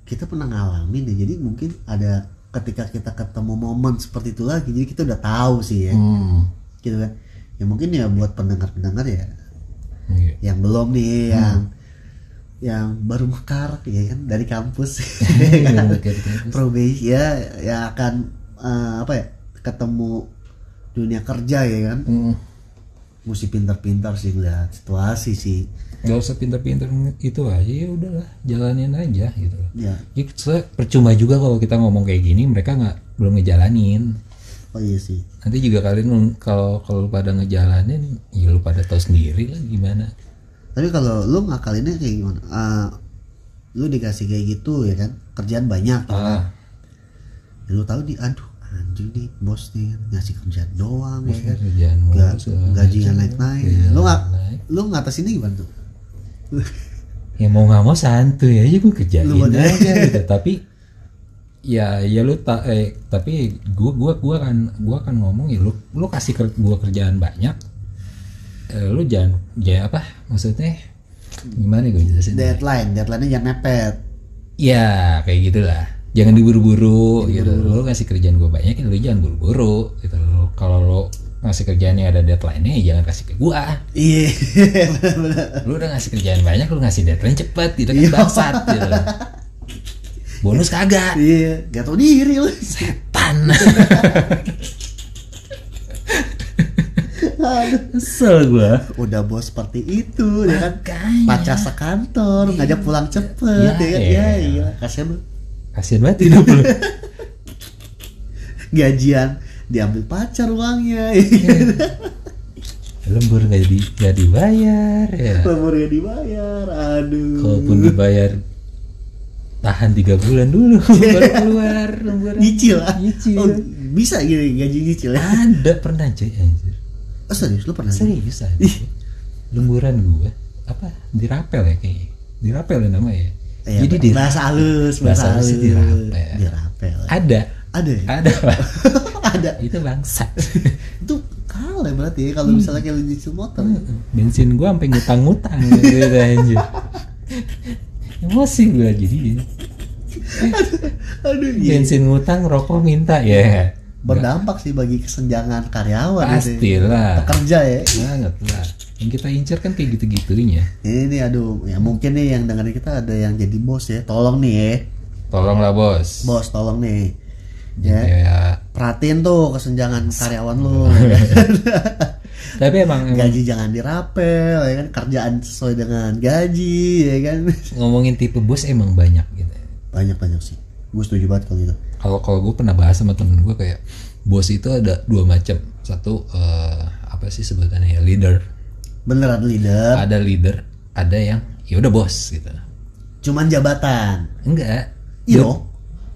B: kita pernah ngalamin ya jadi mungkin ada ketika kita ketemu momen seperti itu lagi jadi kita udah tahu sih ya
A: Hmm.
B: gitu kan ya mungkin ya buat pendengar-pendengar ya
A: Iya.
B: yang belum nih yang yang baru mekar ya kan dari kampus
A: Iya. Terus,
B: probation ya ya akan eh, apa ya ketemu dunia kerja ya kan
A: hmm,
B: mesti pintar-pintar sih lihat situasi sih
A: Nggak usah pinter-pinter itu aja ya udahlah jalanin aja gitu.
B: ya
A: Ya, soalnya percuma juga kalau kita ngomong kayak gini mereka nggak belum ngejalanin.
B: oh iya sih
A: nanti juga kalian meng- kalau kalau lu pada ngejalanin ya lu pada tahu sendiri lah gimana
B: tapi kalau lu ngakalinnya kayak gimana Eh, lu dikasih kayak gitu ya kan kerjaan banyak
A: ah
B: Ya lu tahu di aduh anjing nih bos nih ngasih kerjaan doang ya kan
A: kerjaan mulu,
B: Ga-
A: segala
B: gajinya
A: macam,
B: naik-naik.
A: gajinya
B: Lu nggak-
A: naik.
B: lu ngatasinnya gimana tuh
A: ya mau nggak mau santuy aja gue kerjain
B: Lu mau-
A: aja gitu tapi ya ya lu tak eh tapi gua gua gua akan gua akan ngomong ya lu lu kasih ker, gua kerjaan banyak eh, lu jangan ya apa maksudnya gimana gue
B: Iya.
A: jelasin
B: deadline deadline-nya jangan mepet
A: Ya kayak gitulah. Jangan diburu-buru gitu. Lo ngasih kerjaan gue banyak, ya lo jangan buru-buru gitu. Lo- Kalau lo ngasih kerjaan yang ada deadline-nya, ya jangan kasih ke gue.
B: iya *laughs* bener-bener.
A: Lo udah ngasih kerjaan banyak, lo ngasih deadline cepet gitu kan
B: Iya.
A: bangsat gitu. Bonus kagak,
B: iya gak tau diri *laughs* lu
A: Iya. setan. Kesel gue.
B: udah bos seperti itu ya
A: Makanya.
B: kan pacar sekantor ngajak pulang
A: Ya
B: cepet ya, kan ya
A: elah.
B: iya kasian lu
A: Kasian banget hidup lo.
B: gajian diambil pacar uangnya
A: Lembur gak, di, gak dibayar ya.
B: lemurnya dibayar aduh
A: Kalaupun dibayar tahan tiga bulan dulu *laughs* baru keluar lemburan.
B: Iya. nyicil ah
A: Nyicil.
B: Oh, bisa gini gaji nyicil ya
A: Ada pernah cuy anjir.
B: oh, serius lu pernah
A: Serius aja. Lemburan gua apa dirapel ya kayaknya. Dirapel ya namanya. ya?
B: Iya,
A: Jadi
B: ba-
A: di
B: bahasa halus bahasa
A: bahasa
B: halus
A: halusnya dirapel.
B: dirapel
A: ada
B: ada ya?
A: ada Pak.
B: *laughs* ada
A: itu bangsa. *laughs*
B: itu kalah berarti ya kalau misalnya kayak lu nyicil motor ya.
A: Bensin gua sampai ngutang-ngutang gitu anjir. Emosi gua
B: Iya.
A: jadi
B: aduh iya
A: bensin ngutang rokok minta ya.
B: berdampak sih bagi kesenjangan karyawan gitu ya.
A: Pastilah.
B: pekerja ya
A: banget lah yang kita incer kan kayak gitu-gitunya
B: ini nih aduh ya mungkin nih yang dengerin kita ada yang jadi bos ya tolong nih ya
A: tolonglah bos
B: bos tolong nih
A: ya.
B: ya perhatiin tuh kesenjangan karyawan
A: *laughs*
B: lu
A: tapi emang, emang
B: gaji jangan dirapel ya kan kerjaan sesuai dengan gaji ya kan
A: ngomongin tipe bos emang banyak gitu
B: banyak banyak sih gue setuju banget kalau gitu
A: kalau kalau gue pernah bahas sama temen gue kayak bos itu ada dua macam satu eh, apa sih sebutannya ya leader
B: beneran leader
A: ada leader ada yang ya udah bos gitu
B: cuman jabatan
A: enggak
B: Iya
A: Dia-
B: dong.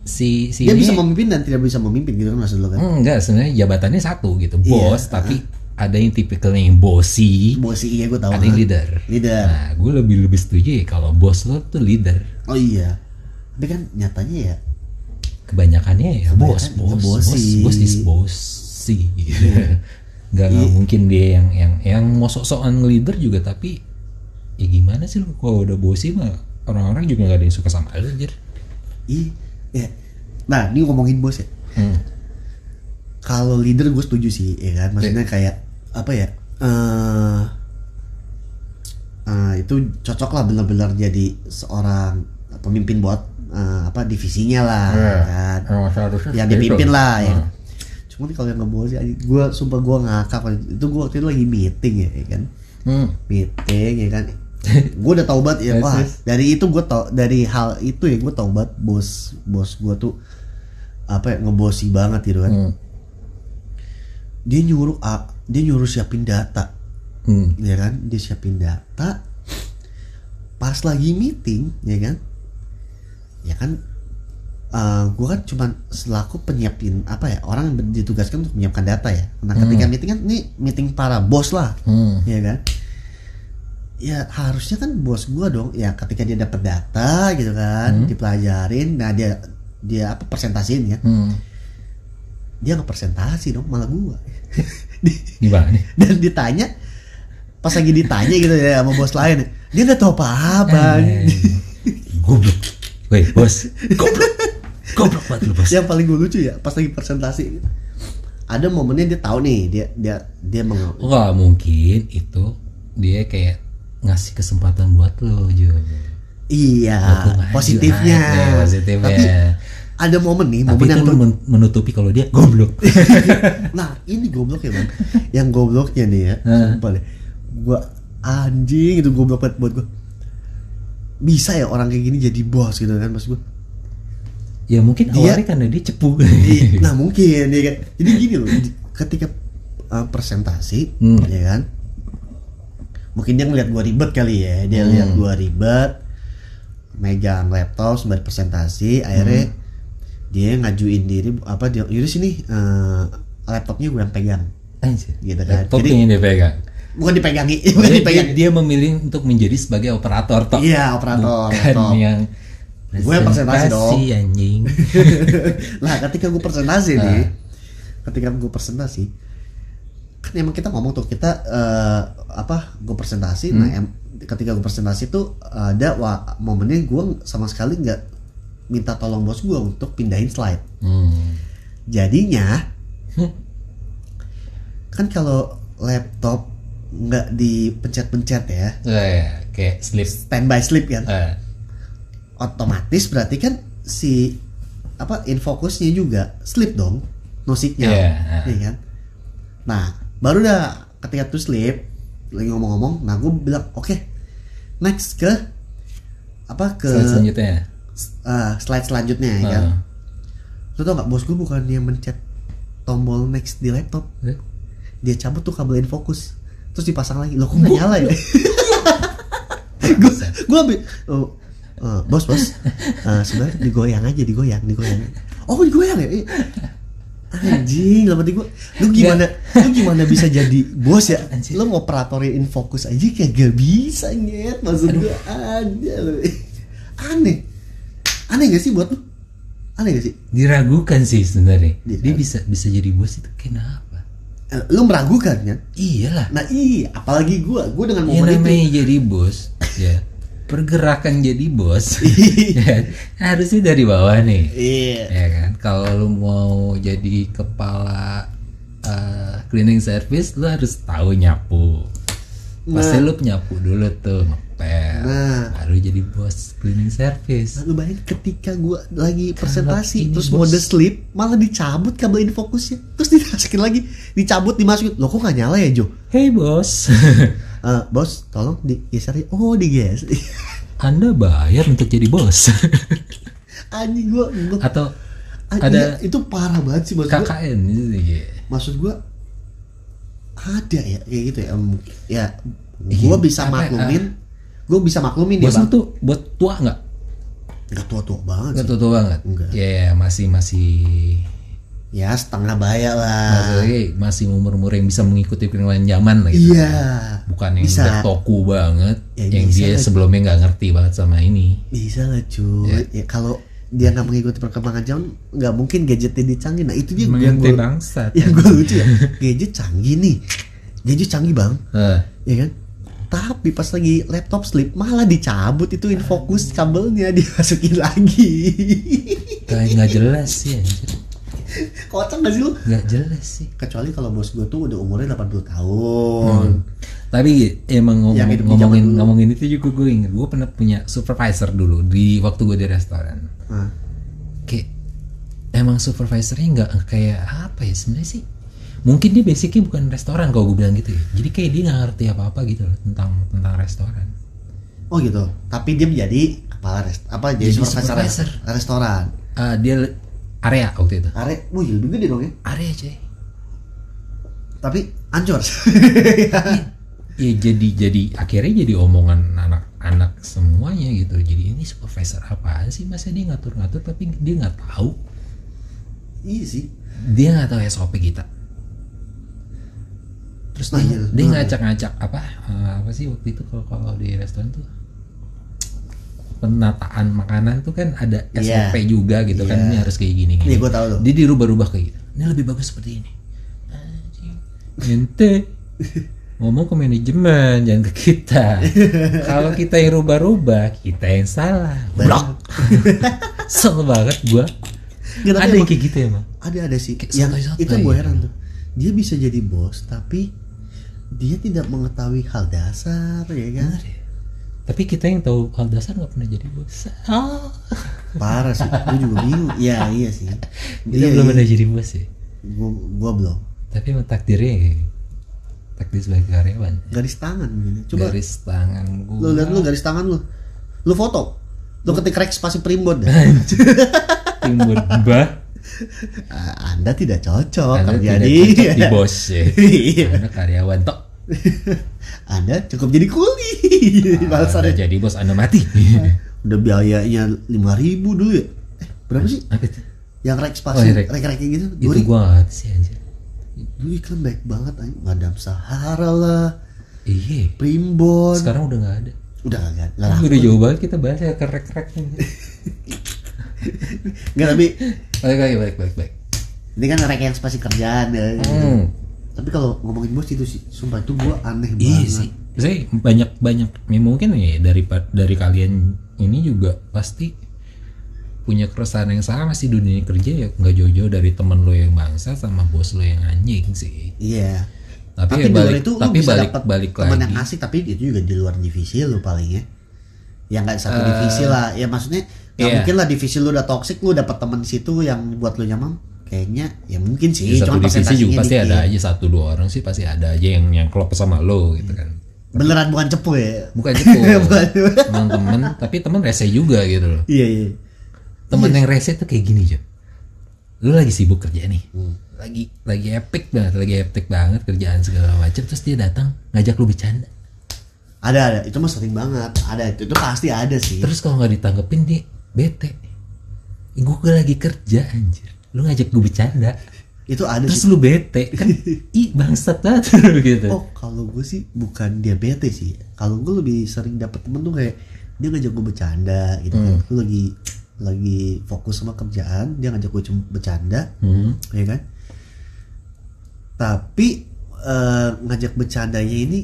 A: si si
B: dia
A: ini
B: bisa memimpin dan tidak bisa memimpin gitu kan maksud lo kan
A: enggak sebenarnya jabatannya satu gitu
B: Iya.
A: bos tapi ada yang tipikalnya yang bosi
B: bos iya gue tahu
A: Hmm. ada yang
B: ha?
A: leader
B: leader
A: nah gue lebih lebih setuju ya kalau bos lo tuh leader
B: oh iya tapi kan nyatanya ya
A: kebanyakannya ya bos bos
B: Kebanyakan
A: bos
B: ngebosi.
A: bos is bosi gitu. *laughs* nggak nggak mungkin dia yang yang yang mau sok-sokan leader juga tapi ya gimana sih lu kalau udah bosi mah orang-orang juga nggak ada yang suka sama lu anjir
B: ih ya nah ini ngomongin bos ya
A: Hmm.
B: kalau leader gue setuju sih ya kan maksudnya
A: Iya.
B: kayak apa ya eh eh, itu cocok lah benar-benar jadi seorang pemimpin buat eh, apa divisinya lah
A: Iya.
B: ya kan yang dipimpin lah ya. Cuman kalau yang ngebawa sih gue sumpah gue ngakak itu gue waktu itu lagi meeting ya, ya kan
A: Hmm.
B: meeting ya
A: *laughs*
B: kan gue udah taubat ya
A: Yes,
B: wah
A: yes.
B: dari itu gue tau dari hal itu ya gue taubat bos bos gue tuh apa ya, ngebosi banget gitu kan
A: Hmm.
B: dia nyuruh ah, dia nyuruh siapin data
A: Hmm.
B: ya kan dia siapin data pas lagi meeting ya kan ya kan eh gue kan cuman selaku penyiapin apa ya orang yang ber- ditugaskan untuk menyiapkan data ya nah ketika meeting kan ini meeting para bos lah
A: Hmm.
B: ya kan ya harusnya kan bos gue dong ya ketika dia dapat data gitu kan dipelajarin nah dia dia apa presentasiin ya
A: Hmm.
B: dia ngepresentasi dong malah *laughs* gue
A: Gimana nih?
B: dan ditanya pas lagi ditanya gitu ya sama bos lain dia nggak tahu apa-apa
A: Eh. Goblok. Woi, *laughs* bos. Goblok. Goblok banget lu, bos.
B: yang paling gue lucu ya pas lagi presentasi ada momennya dia tahu nih dia dia dia meng
A: Wah, mungkin itu dia kayak ngasih kesempatan buat lo, juga
B: iya
A: Untung aja.
B: positifnya
A: Nah, iya, positifnya.
B: tapi ada momen nih
A: Tapi
B: momen
A: itu
B: yang
A: lu men- menutupi kalau dia goblok.
B: *laughs* nah ini goblok ya bang yang gobloknya nih ya sumpah deh gue anjing itu goblok banget buat gue bisa ya orang kayak gini jadi bos gitu kan mas gue
A: ya mungkin
B: Dia-
A: awalnya karena dia
B: *laughs*
A: cepu. *laughs*
B: Di- nah mungkin ya kan jadi gini loh di- ketika uh, presentasi
A: Hmm.
B: ya kan mungkin dia ngeliat gua ribet kali ya
A: Hmm.
B: dia lihat gua ribet megang laptop sembari presentasi akhirnya
A: Hmm.
B: dia ngajuin diri apa dia yaudah sini uh, laptopnya gue yang pegang
A: Anjir.
B: Gitu kan.
A: Laptop
B: Jadi-
A: yang dia pegang.
B: bukan dipegangi *laughs* bukan
A: Dia, dia,
B: dipegang
A: dia memilih untuk menjadi sebagai operator toh.
B: iya operator
A: Bukan
B: laptop.
A: yang
B: Gue yang presentasi dong. *laughs*
A: anjing.
B: nah ketika gue presentasi nih ketika gue presentasi kan emang kita ngomong tuh kita eh, apa gue presentasi nah em- ketika gue presentasi tuh ada wah, momennya gue sama sekali nggak minta tolong bos gue untuk pindahin slide
A: Hmm.
B: jadinya kan kalau laptop nggak dipencet-pencet ya
A: Eh, kayak slip.
B: standby slip kan
A: Eh,
B: otomatis berarti kan si apa infocusnya juga slip dong no signal
A: Iya, ah.
B: Iya kan nah baru dah ketika tuh slip lagi ngomong-ngomong nah gue bilang oke next ke apa ke
A: slide selanjutnya.
B: eh, slide selanjutnya ya kan
A: Ah.
B: lo tau gak bos gue bukan yang mencet tombol next di laptop
A: Eh,
B: dia cabut tuh kabel infocus terus dipasang lagi lo kok nggak
A: *laughs*
B: nyala ya gue gue ambil oh, eh, bos bos eh, sebenarnya digoyang aja digoyang digoyang oh digoyang ya Ih. anjing lah berarti gue lu gimana lu gimana bisa jadi bos ya
A: Anjing.
B: lu ngoperatori infocus aja kayak gak bisa nyet maksud gue ada lu aneh aneh gak sih buat lu aneh gak sih
A: Diragukan sih sebenarnya. Dia
B: Diragukan.
A: bisa bisa jadi bos itu kenapa?
B: Eh, lu meragukan kan
A: Iyalah.
B: nah iya apalagi gue gue dengan
A: Yang
B: momen itu
A: Iya, namanya jadi *laughs* bos, ya pergerakan jadi *laughs* bos, ya, harusnya dari bawah nih,
B: iya
A: ya kan? Kalau lu mau jadi kepala eh, cleaning service, lu harus tahu nyapu. Pasti lu nyapu dulu tuh, ngepel,
B: Nah.
A: baru jadi bos cleaning service.
B: Lu bayangin ketika gua lagi presentasi
A: ini
B: terus
A: bos-
B: mode sleep malah dicabut kabel infocusnya terus dimasukin lagi dicabut dimasukin loh kok nggak nyala ya Jo
A: Hey bos, *laughs*
B: Eh, bos tolong digeser ya oh digeser *laughs*
A: Anda bayar untuk jadi bos *laughs*
B: anjing gua, gua
A: atau
B: ah,
A: ada
B: iya, itu parah banget sih maksud gua
A: KKN gitu.
B: maksud gua ada ya kayak gitu ya Em, ya gue bisa
A: Apa ya,
B: maklumin gue bisa maklumin dia
A: Bos lu
B: bang
A: tuh buat tua nggak?
B: nggak tua tua banget
A: Nggak
B: sih.
A: tua tua banget.
B: Nggak.
A: Ya ya, masih masih
B: ya setengah baya lah
A: maksudnya masih umur umur yang bisa mengikuti perkembangan zaman lah gitu.
B: iya
A: Bukan yang
B: Bisa.
A: udah toku banget,
B: Ya,
A: yang
B: bisa
A: dia
B: lah.
A: sebelumnya nggak ngerti banget sama ini.
B: bisa lah cuy
A: Iya.
B: ya, kalau dia nggak mengikuti perkembangan zaman nggak mungkin gadgetnya dicanggih nah itu dia yang
C: Mengenai
B: gue
C: bangsat.
B: *laughs* yang gue lucu ya gadget canggih nih gadget canggih bang
A: Eh,
B: ya kan tapi pas lagi laptop slip malah dicabut itu fokus kabelnya *laughs* dimasukin lagi *laughs*
A: kayak nggak jelas sih, anjir.
B: kocak gak sih lu
A: nggak jelas sih.
B: kecuali kalau bos gue tuh udah umurnya 80 tahun
A: Tapi emang ngom-
B: Yang hidup di zaman
A: ngomongin
B: dulu.
A: ngomongin itu juga gue inget gue pernah punya supervisor dulu di waktu gue di restoran.
B: Nah,
A: kayak emang supervisornya nggak kayak apa ya sebenarnya sih mungkin dia basicnya bukan restoran kalau gue bilang gitu ya jadi kayak dia nggak ngerti apa apa gitu loh tentang tentang restoran
B: oh gitu tapi dia menjadi kepala rest apa jadi,
A: Jadi
B: supervisor,
A: supervisor.
B: restoran
A: Ah, dia le- area waktu itu
B: are wih lebih gede dong ya
A: area cuy
B: tapi *laughs* ancur
A: ya jadi jadi akhirnya jadi omongan anak-anak semuanya gitu jadi ini supervisor apaan sih masa dia ngatur-ngatur tapi dia nggak tahu
B: iya sih
A: dia nggak tahu SOP kita terus
B: Nah,
A: dia,
B: iya.
A: dia
B: Nah.
A: ngacak-ngacak apa eh, apa sih waktu itu kalau kalau di restoran tuh penataan makanan tuh kan ada
B: Iya.
A: SOP juga gitu kan
B: Iya.
A: ini harus kayak gini gini
B: Iya, gua tahu tuh.
A: dia dirubah-rubah kayak gitu ini lebih bagus seperti ini Anjing. ente ngomong ke manajemen jangan ke
B: *laughs*
A: kita kalau kita yang rubah-rubah kita yang salah blok sel banget gua
B: Nggak, Iya, tapi
A: ada yang
B: emang-
A: kayak gitu ya Mang?
B: ada ada sih
A: Kayak
B: yang
A: santai-santai
B: itu gue
A: gitu.
B: heran tuh dia bisa jadi bos tapi dia tidak mengetahui hal dasar ya kan
A: Bener ya? Tapi kita yang tahu hal dasar nggak pernah jadi bos. Ah.
B: parah sih gue juga
A: *laughs*
B: bingung iya iya sih
A: Kita
B: Iya,
A: belum
B: iya.
A: pernah jadi bos ya.
B: gua, gua belum
A: Tapi emang takdirnya ya. takdir sebagai karyawan.
B: garis tangan mungkin ya. coba
A: Garis tangan gua.
B: lu lihat lu garis tangan lu lu foto lu ketik reks pasti primbon ya? dah.
A: *laughs* timbun bah.
B: Ah, anda tidak cocok
A: Anda
B: kerja
A: tidak
B: di
A: cocok
B: *laughs*
A: di bos ya.
B: Iya.
A: Anda karyawan tok.
B: anda cukup jadi kuli *laughs*
A: Anda
B: Balasannya.
A: Ah, jadi bos Anda mati.
B: udah biayanya lima ribu dulu ya eh, berapa sih
A: Apa itu?
B: yang reks
A: Oh,
B: pasti
A: iya, Rex.
B: rek rek gitu
A: Itu
B: dulu
A: gua nggak ngerti sih anjir.
B: dulu iklan baik banget anjing madam sahara lah
A: Iya.
B: primbon
A: Sekarang udah nggak ada.
B: udah kagak nggak
A: Udah
B: laku
A: jauh banget kita bahas ya kerek-kerek.
B: nggak tapi
A: Baik baik baik baik. baik.
B: ini kan rek yang pasti kerjaan ya gitu.
A: Hmm.
B: tapi kalau ngomongin bos itu sih sumpah itu gua aneh
A: Iya
B: banget
A: sih. Saya banyak banyak ya mungkin ya dari dari kalian ini juga pasti punya keresahan yang sama sih dunia kerja ya nggak jauh-jauh dari temen lo yang bangsa sama bos lo yang anjing sih.
B: iya
A: Tapi,
B: tapi
A: ya
B: di luar
A: balik
B: itu lu
A: tapi
B: bisa
A: balik
B: dapat
A: balik
B: teman
A: lagi.
B: yang asik tapi itu juga di luar divisi lu paling ya ya nggak satu divisi lah ya maksudnya nggak
A: Eh, iya.
B: mungkin lah divisi lu udah toxic lu dapat teman situ yang buat lu nyaman kayaknya ya mungkin
A: Di
B: sih
A: satu
B: cuman
A: divisi juga
B: persentasenya
A: pasti
B: dikit.
A: ada aja satu dua orang sih pasti ada aja yang yang klop sama lo gitu kan.
B: beneran bukan cepu ya *laughs*
A: Bukan itu teman-teman tapi teman rese juga gitu loh.
B: iya iya
A: temen yang rese tuh kayak gini Jo lu lagi sibuk kerja nih
B: Hmm.
A: lagi lagi epic banget lagi epic banget kerjaan segala macam terus dia datang ngajak lu bercanda
B: ada ada itu mah sering banget ada itu itu pasti ada sih
A: terus kalau nggak ditanggepin dia bete gue lagi kerja anjir lu ngajak gue bercanda
B: itu ada
A: terus
B: sih
A: lu bete
B: *laughs*
A: kan ih bangsat banget *laughs* lu gitu
B: oh kalau gue sih bukan diabetes sih kalau gue lebih sering dapet temen tuh kayak dia ngajak gue bercanda gitu
A: Hmm.
B: kan gue lagi lagi fokus sama kerjaan dia ngajak gue cuma bercanda
A: Hmm.
B: ya kan tapi eh, ngajak bercandanya ini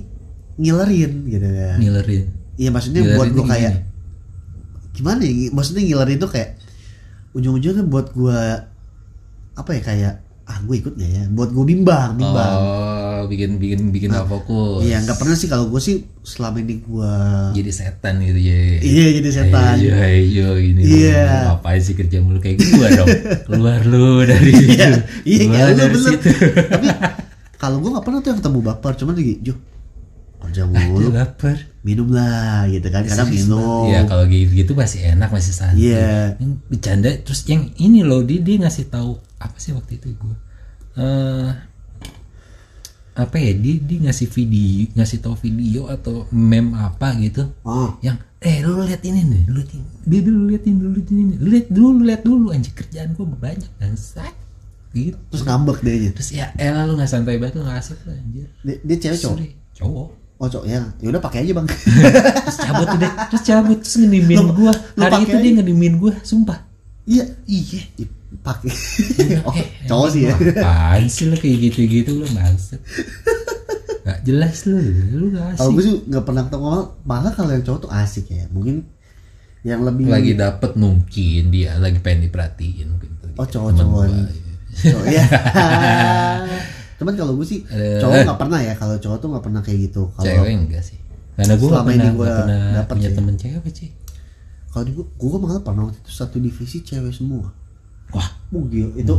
B: ngilerin gitu kan
A: ngilerin
B: Iya maksudnya
A: Hmm. Ngilerin
B: buat gue
A: tuh
B: kayak gimana ya? Maksudnya ngilerin itu kayak ujung-ujungnya buat gue apa ya kayak ah gue ikut gak ya? Buat gue bimbang, bimbang.
A: oh bikin bikin bikin nggak fokus
B: Iya nggak pernah sih kalau gue sih selama ini gue
A: jadi setan gitu ya
B: iya jadi setan.
A: Ayo, ayo, ini
B: Iya.
A: lu ngapain sih kerja mulu kayak gua
B: *laughs*
A: dong? Keluar lu dari
B: Iya,
A: situ.
B: *laughs* iya
A: Keluar
B: kayak lu
A: dari
B: bener.
A: situ. *laughs*
B: Tapi kalau gue nggak pernah tuh yang ketemu baper, cuman lagi Jo kerja
A: Lu *laughs*
B: mulu
A: lapar.
B: minum lah gitu kan kadang
A: Serius,
B: minum
A: Bang. Iya, kalau gitu, gitu masih enak, masih santai.
B: Iya.
A: Yang Bercanda terus yang ini loh dia, dia ngasih tahu apa sih waktu itu gua? Eh apa ya dia dia ngasih video ngasih tau video atau meme apa gitu
B: oh
A: yang eh lu lihat ini nih lu lihat ini dia dulu liatin dulu liatin ini Lu lihat dulu lu lihat dulu anjir kerjaan gua banyak bangsat gitu
B: terus ngambek dia aja
A: terus ya elah lu nggak santai banget lu nggak asik lu anjir
B: dia, dia cewek cowok
A: Sorry. cowok
B: oh cowok ya yaudah pakai
A: *laughs*
B: aja bang *laughs*
A: terus cabut tuh deh terus cabut terus ngedimin
B: Lu-
A: gua
B: lu
A: hari
B: pakai
A: itu dia ngedimin gua sumpah
B: iya
A: iya
B: Ih, pakai *laughs* oh, cowok sih ya
A: apaan sih lu kayak gitu gitu lu bangsat nggak jelas lu lu nggak asik
B: kalau gue sih nggak pernah ketemu malah kalau yang cowok tuh asik ya mungkin yang lebih
A: lagi dapet mungkin dia lagi pengen diperhatiin mungkin tuh dia,
B: oh cowok
A: teman
B: cowok
A: gua.
B: cowok
A: *laughs*
B: ya cuman kalau gue sih
A: Eh.
B: cowok nggak pernah ya kalau cowok tuh nggak pernah kayak gitu kalau
A: cewek enggak sih karena gue gak
B: Selama ini
A: pernah,
B: gua
A: gak pernah
B: dapet
A: punya
B: sih.
A: temen cewek sih
B: kalau di gue gue malah pernah waktu itu satu divisi cewek semua
A: wah
B: Oh, gila, itu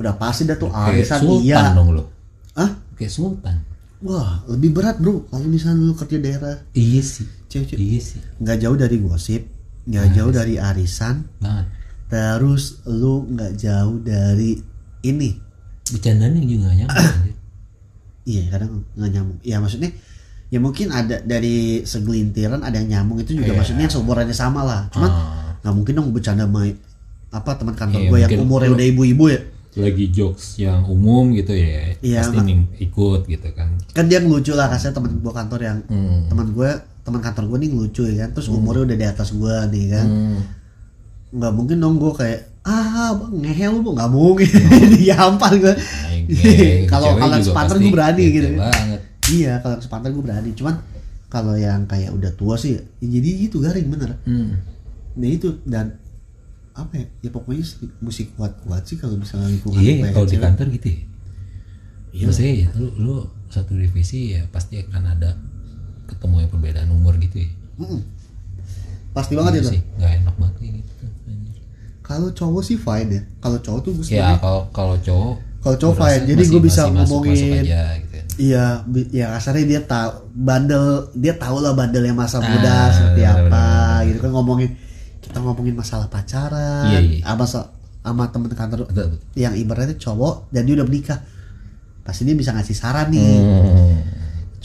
B: udah pasti dah tuh
A: Hmm. kayak
B: arisan
A: sultan
B: iya
A: dong lo
B: ah
A: kayak sultan
B: wah lebih berat bro kalau misalnya lu kerja daerah
A: iya sih
B: cewek-cewek
A: iya sih
B: nggak jauh dari gosip nggak jauh dari arisan
A: banget
B: terus lu nggak jauh dari ini
A: bercandanya juga gak nyambung anjir.
B: iya kadang nggak nyambung ya maksudnya ya mungkin ada dari segelintiran ada yang nyambung itu juga
A: Iya.
B: maksudnya seumurannya sama lah cuman
A: Ah.
B: nggak mungkin dong bercanda sama apa teman kantor
A: Iya,
B: gue yang
A: mungkin
B: umurnya
A: lu-
B: udah ibu-ibu ya
A: lagi jokes yang umum gitu ya
B: Iya,
A: pasti
B: Mak.
A: nih ikut gitu kan
B: kan dia ngelucu lah kasih teman gue kantor yang
A: Hmm.
B: teman gue teman kantor gue nih ngelucu ya kan terus umurnya udah di atas gue nih kan
A: Hmm.
B: nggak mungkin dong gue kayak ah bang ngehe lu Bang." nggak mungkin *laughs* diampar gue *laughs*
A: Oke, Oh.
B: kalau
A: cewek
B: kalau
A: juga
B: sepanter
A: pasti
B: gue berani gitu
A: banget
B: iya kalau yang sepanter gue berani cuman kalau yang kayak udah tua sih ya jadi itu garing bener
A: Hmm.
B: nah itu dan apa ya, ya pokoknya sih, mesti kuat-kuat sih kalau misalnya lingkungan
A: iya
B: banyak
A: kalau di
B: cewek. Iya.
A: kantor gitu ya maksudnya ya, lu, lu satu divisi ya pasti akan ada ketemu yang perbedaan umur gitu ya
B: Mm-mm. pasti
A: Iya
B: banget itu
A: sih nggak enak banget kayak gitu tuh, anjir.
B: kalau cowok sih fine ya kalau cowok tuh gue
A: ya
B: sebenarnya
A: kalau kalau cowok
B: Kalau cowok
A: gua rasa
B: fine, jadi
A: masih-
B: gua bisa
A: masih masuk-
B: ngomongin.
A: masuk aja gitu ya.
B: Iya, bi- ya kasarnya dia tahu bandel, dia tahu lah bandelnya masa
A: Ah,
B: muda seperti
A: benar,
B: apa,
A: benar.
B: gitu kan ngomongin kita ngomongin masalah pacaran,
A: Iya, iya.
B: sama so- sama temen kantor
A: Betul, betul.
B: yang ibaratnya cowok dan dia udah menikah, pasti dia bisa ngasih saran nih.
A: Hmm.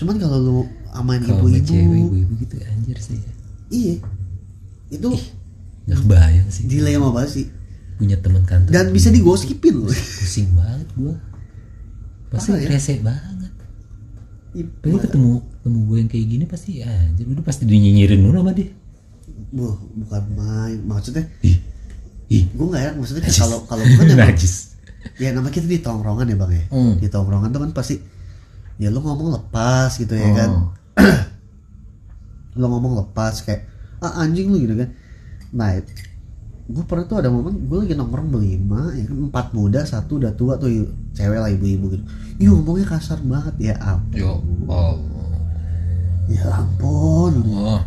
B: Cuman kalau lu amain
A: Kalau sama cewek
B: ibu-ibu,
A: ibu-ibu gitu anjir sih ya.
B: iya, itu
A: Gak kebayang sih
B: dilema banget sih
A: punya teman kantor.
B: dan bisa digosipin
A: *laughs*
B: loh.
A: pusing banget gua. Pasti
B: Parah ya?
A: rese banget. Tapi ketemu ketemu gue yang kayak gini pasti ya, anjir udah pasti dinyinyirin dulu sama dia.
B: Buh, bukan main, maksudnya
A: Ih. Ih.
B: gue nggak enak
A: *laughs*
B: maksudnya
A: najis.
B: Ya, kalau kalau gue kan emang-
A: najis.
B: ya nama kita di tongkrongan ya bang ya
A: Hmm.
B: di tongkrongan tuh kan pasti ya lu ngomong lepas gitu ya kan
A: Oh.
B: lu ngomong lepas kayak ah anjing lu gitu kan nah gue pernah tuh ada momen gue lagi nongkrong berlima ya kan empat muda satu udah tua tuh i- cewek lah ibu-ibu gitu Ih
A: Hmm.
B: ngomongnya kasar banget ya ampun
A: Yo. Oh.
B: ya ampun
A: Oh.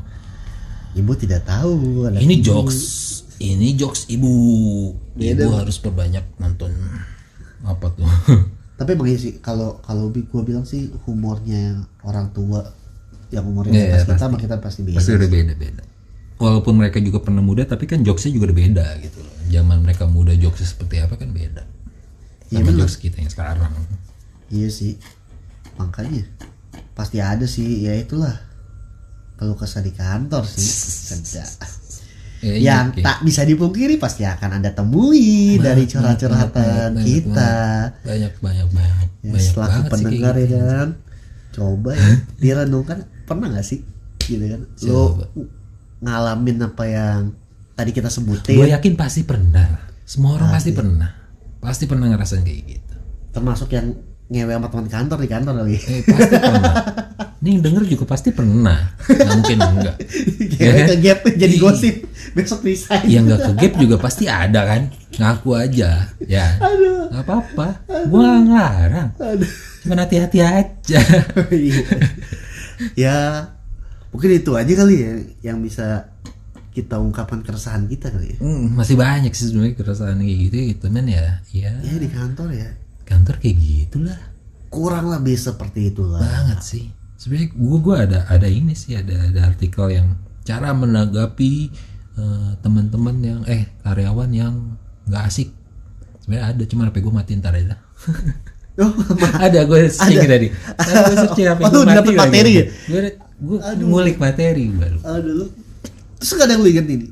B: ibu tidak tahu ada
A: Ini
B: ibu.
A: jokes, ini jokes ibu. Ibu
B: Beda.
A: harus perbanyak nonton apa tuh? *laughs*
B: tapi emang iya sih kalau kalau gue bilang sih humornya orang tua yang umurnya
A: Iya, iya,
B: atas kita
A: pasti.
B: sama kita pasti beda
A: Pasti udah beda-beda. Walaupun mereka juga pernah muda, tapi kan jokesnya juga udah beda gitu loh. Zaman mereka muda jokesnya seperti apa kan beda.
B: Iya,
A: Sama
B: bener.
A: jokes kita yang sekarang.
B: Iya sih. Makanya pasti ada sih ya itulah kalau kesah di kantor sih sedap.
A: Ya,
B: Yang
A: oke.
B: tak bisa dipungkiri pasti akan anda temui dari
A: Banyak, banyak, banyak,
B: curhat-curhatan
A: banyak,
B: kita.
A: Banyak banyak banyak.
B: Ya,
A: banyak
B: selaku
A: banget sih kayak
B: pendengar ya
A: gitu.
B: kan, coba ya direnungkan pernah nggak sih gitu kan? Lo
A: Coba.
B: ngalamin apa yang tadi kita
A: Gue
B: sebutin,
A: yakin pasti pernah. Semua orang pasti pernah. Pasti pernah ngerasain kayak gitu.
B: termasuk yang ngewe sama teman kantor di kantor kali.
A: Eh, pasti pernah. Ini yang denger juga pasti pernah. Nggak mungkin enggak. Ya
B: Ngewe
A: kan?
B: ke gap jadi
A: Iya.
B: gosip besok resign.
A: Yang nggak ke gap juga pasti ada kan. Ngaku aja, ya.
B: Aduh.
A: Nggak apa-apa. Gua nggak ngelarang.
B: Aduh.
A: Cuman hati-hati aja.
B: *laughs* Iya. ya mungkin itu aja kali ya yang bisa kita ungkapkan keresahan kita kali ya.
A: Hmm, masih banyak sih sebenarnya kerasaan kayak gitu gitu men ya. Ya,
B: Ya di kantor ya
A: kantor kayak gitulah.
B: kurang lebih seperti itulah.
A: banget sih sebenarnya gue gue ada ada ini sih ada ada artikel yang cara menanggapi eh, teman-teman yang eh karyawan yang nggak asik sebenarnya ada cuma HP gue matiin ntar aja
B: *laughs* Oh,
A: ada gue searching tadi tadi gue searching apa
B: Oh,
A: gue
B: dapet materi ya?
A: gue gue ngulik materi baru
B: aduh lu. Terus gak ada yang lu inget ini?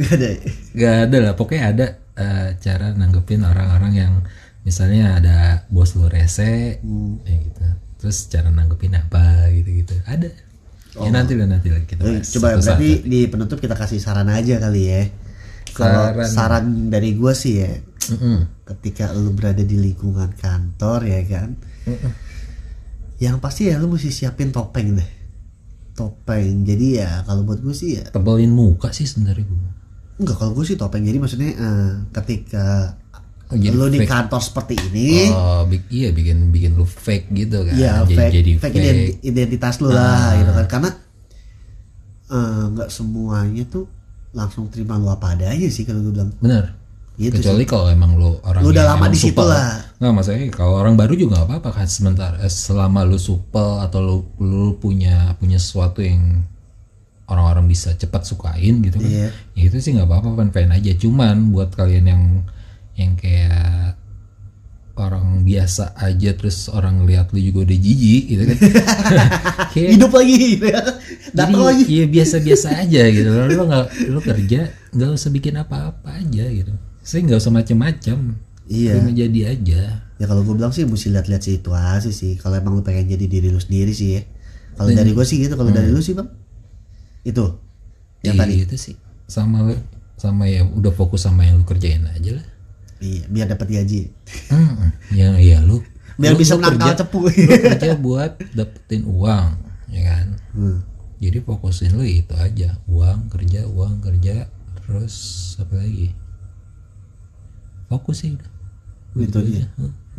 B: Gak ada. ya?
A: Gak ada lah, pokoknya ada eh, cara nanggepin orang-orang yang misalnya ada bos lu rese,
B: Hmm.
A: ya gitu. Terus cara nanggepin apa gitu-gitu. Ada. Ya nanti lah nanti lah kita
B: Oh. Eh,
A: bahas
B: Coba
A: satu-satu.
B: berarti di penutup kita kasih saran aja kali ya. Kalau
A: Saran.
B: saran dari gue sih ya,
A: Mm-mm.
B: ketika lu berada di lingkungan kantor ya kan, yang pasti ya lu mesti siapin topeng deh. Topeng. Jadi ya kalau buat gue sih ya
A: Tebelin muka sih sebenarnya gue.
B: Enggak kalau gue sih topeng jadi maksudnya eh, ketika
A: Oh, jadi
B: lo di
A: fake.
B: kantor seperti ini
A: Oh, big, iya bikin bikin lu fake gitu kan.
B: ya
A: jadi,
B: fake,
A: jadi Ah.
B: fake identi- identitas lo lah gitu kan karena eh, nggak semuanya tuh langsung terima lo apa adanya sih kalau gue bilang
A: Bener.
B: Gitu
A: Kecuali kalau emang lu orang
B: Lu udah
A: yang
B: lama
A: emang
B: di situ
A: supel.
B: lah.
A: Nggak maksudnya kalau orang baru juga nggak apa-apa kan sementara eh, selama lu supel atau lu, lu punya punya sesuatu yang orang-orang bisa cepat sukain gitu kan.
B: Iya.
A: Ya itu sih nggak apa-apa fan-fan aja. Cuman buat kalian yang yang kayak orang biasa aja terus orang lihat lu juga udah jijik gitu
B: *laughs*
A: kan. Kayak-
B: hidup lagi *laughs*
A: jadi,
B: datang lagi
A: Iya biasa-biasa aja gitu. Lo lo nggak lo kerja nggak usah bikin apa-apa aja gitu. Saya nggak usah macem-macem.
B: Iya.
A: Cuma jadi aja.
B: ya kalau gue bilang sih mesti lihat-lihat situasi sih kalau emang lo pengen jadi diri lo sendiri sih ya kalau
A: Iya.
B: dari gue sih gitu kalau dari
A: Hmm.
B: lo sih bang itu yang
A: Iya,
B: tadi
A: itu sih sama lo- sama ya udah fokus sama yang lu kerjain aja lah.
B: iya biar dapat gaji
A: Hmm, yang ya lu
B: biar
A: lu-
B: bisa
A: lu
B: menangkal
A: kerja-
B: *laughs* cepu
A: lu kerja buat dapetin uang, ya kan?
B: Hmm,
A: Jadi fokusin lu itu aja, uang kerja, uang kerja, terus apa lagi? Fokus sih udah.
B: gitu dia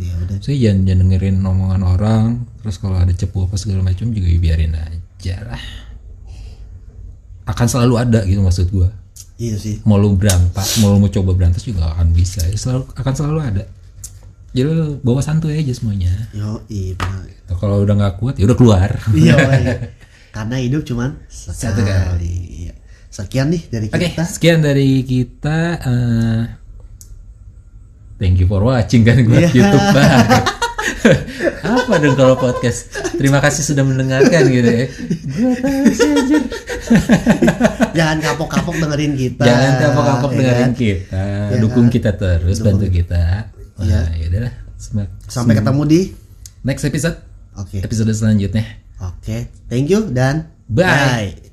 B: ya udah
A: Saya jangan, jangan dengerin omongan orang. Terus kalau ada cepu apa segala macam juga ya biarin aja lah. Akan selalu ada gitu maksud gua.
B: iya sih
A: Mau lu berantas, mau lu mau coba berantas juga akan bisa. Ya, Selalu akan selalu ada. Jadi lu bawa santuy aja semuanya.
B: yo iya
A: *laughs*
B: benar.
A: Nah, Kalau udah nggak kuat ya udah keluar.
B: Iya, iya. karena hidup cuman
A: Satu
B: sekali. Iya. Sekian nih dari
A: Oke,
B: kita.
A: sekian dari kita. eh, thank you for watching kan gue YouTube banget. *laughs* Apa dong kalau podcast? Terima kasih sudah mendengarkan gitu ya. Gue tahu sih anjir.
B: Jangan kapok-kapok dengerin kita.
A: Jangan kapok-kapok
B: ya
A: dengerin
B: kan?
A: kita,
B: Ya
A: dukung
B: kan?
A: kita terus,
B: Dukung.
A: bantu kita. Nah,
B: Iya.
A: ya udahlah. Sem-
B: kan? Sampai ketemu di
A: Next episode,
B: Oke.
A: episode selanjutnya.
B: Oke. Thank you dan
A: Bye.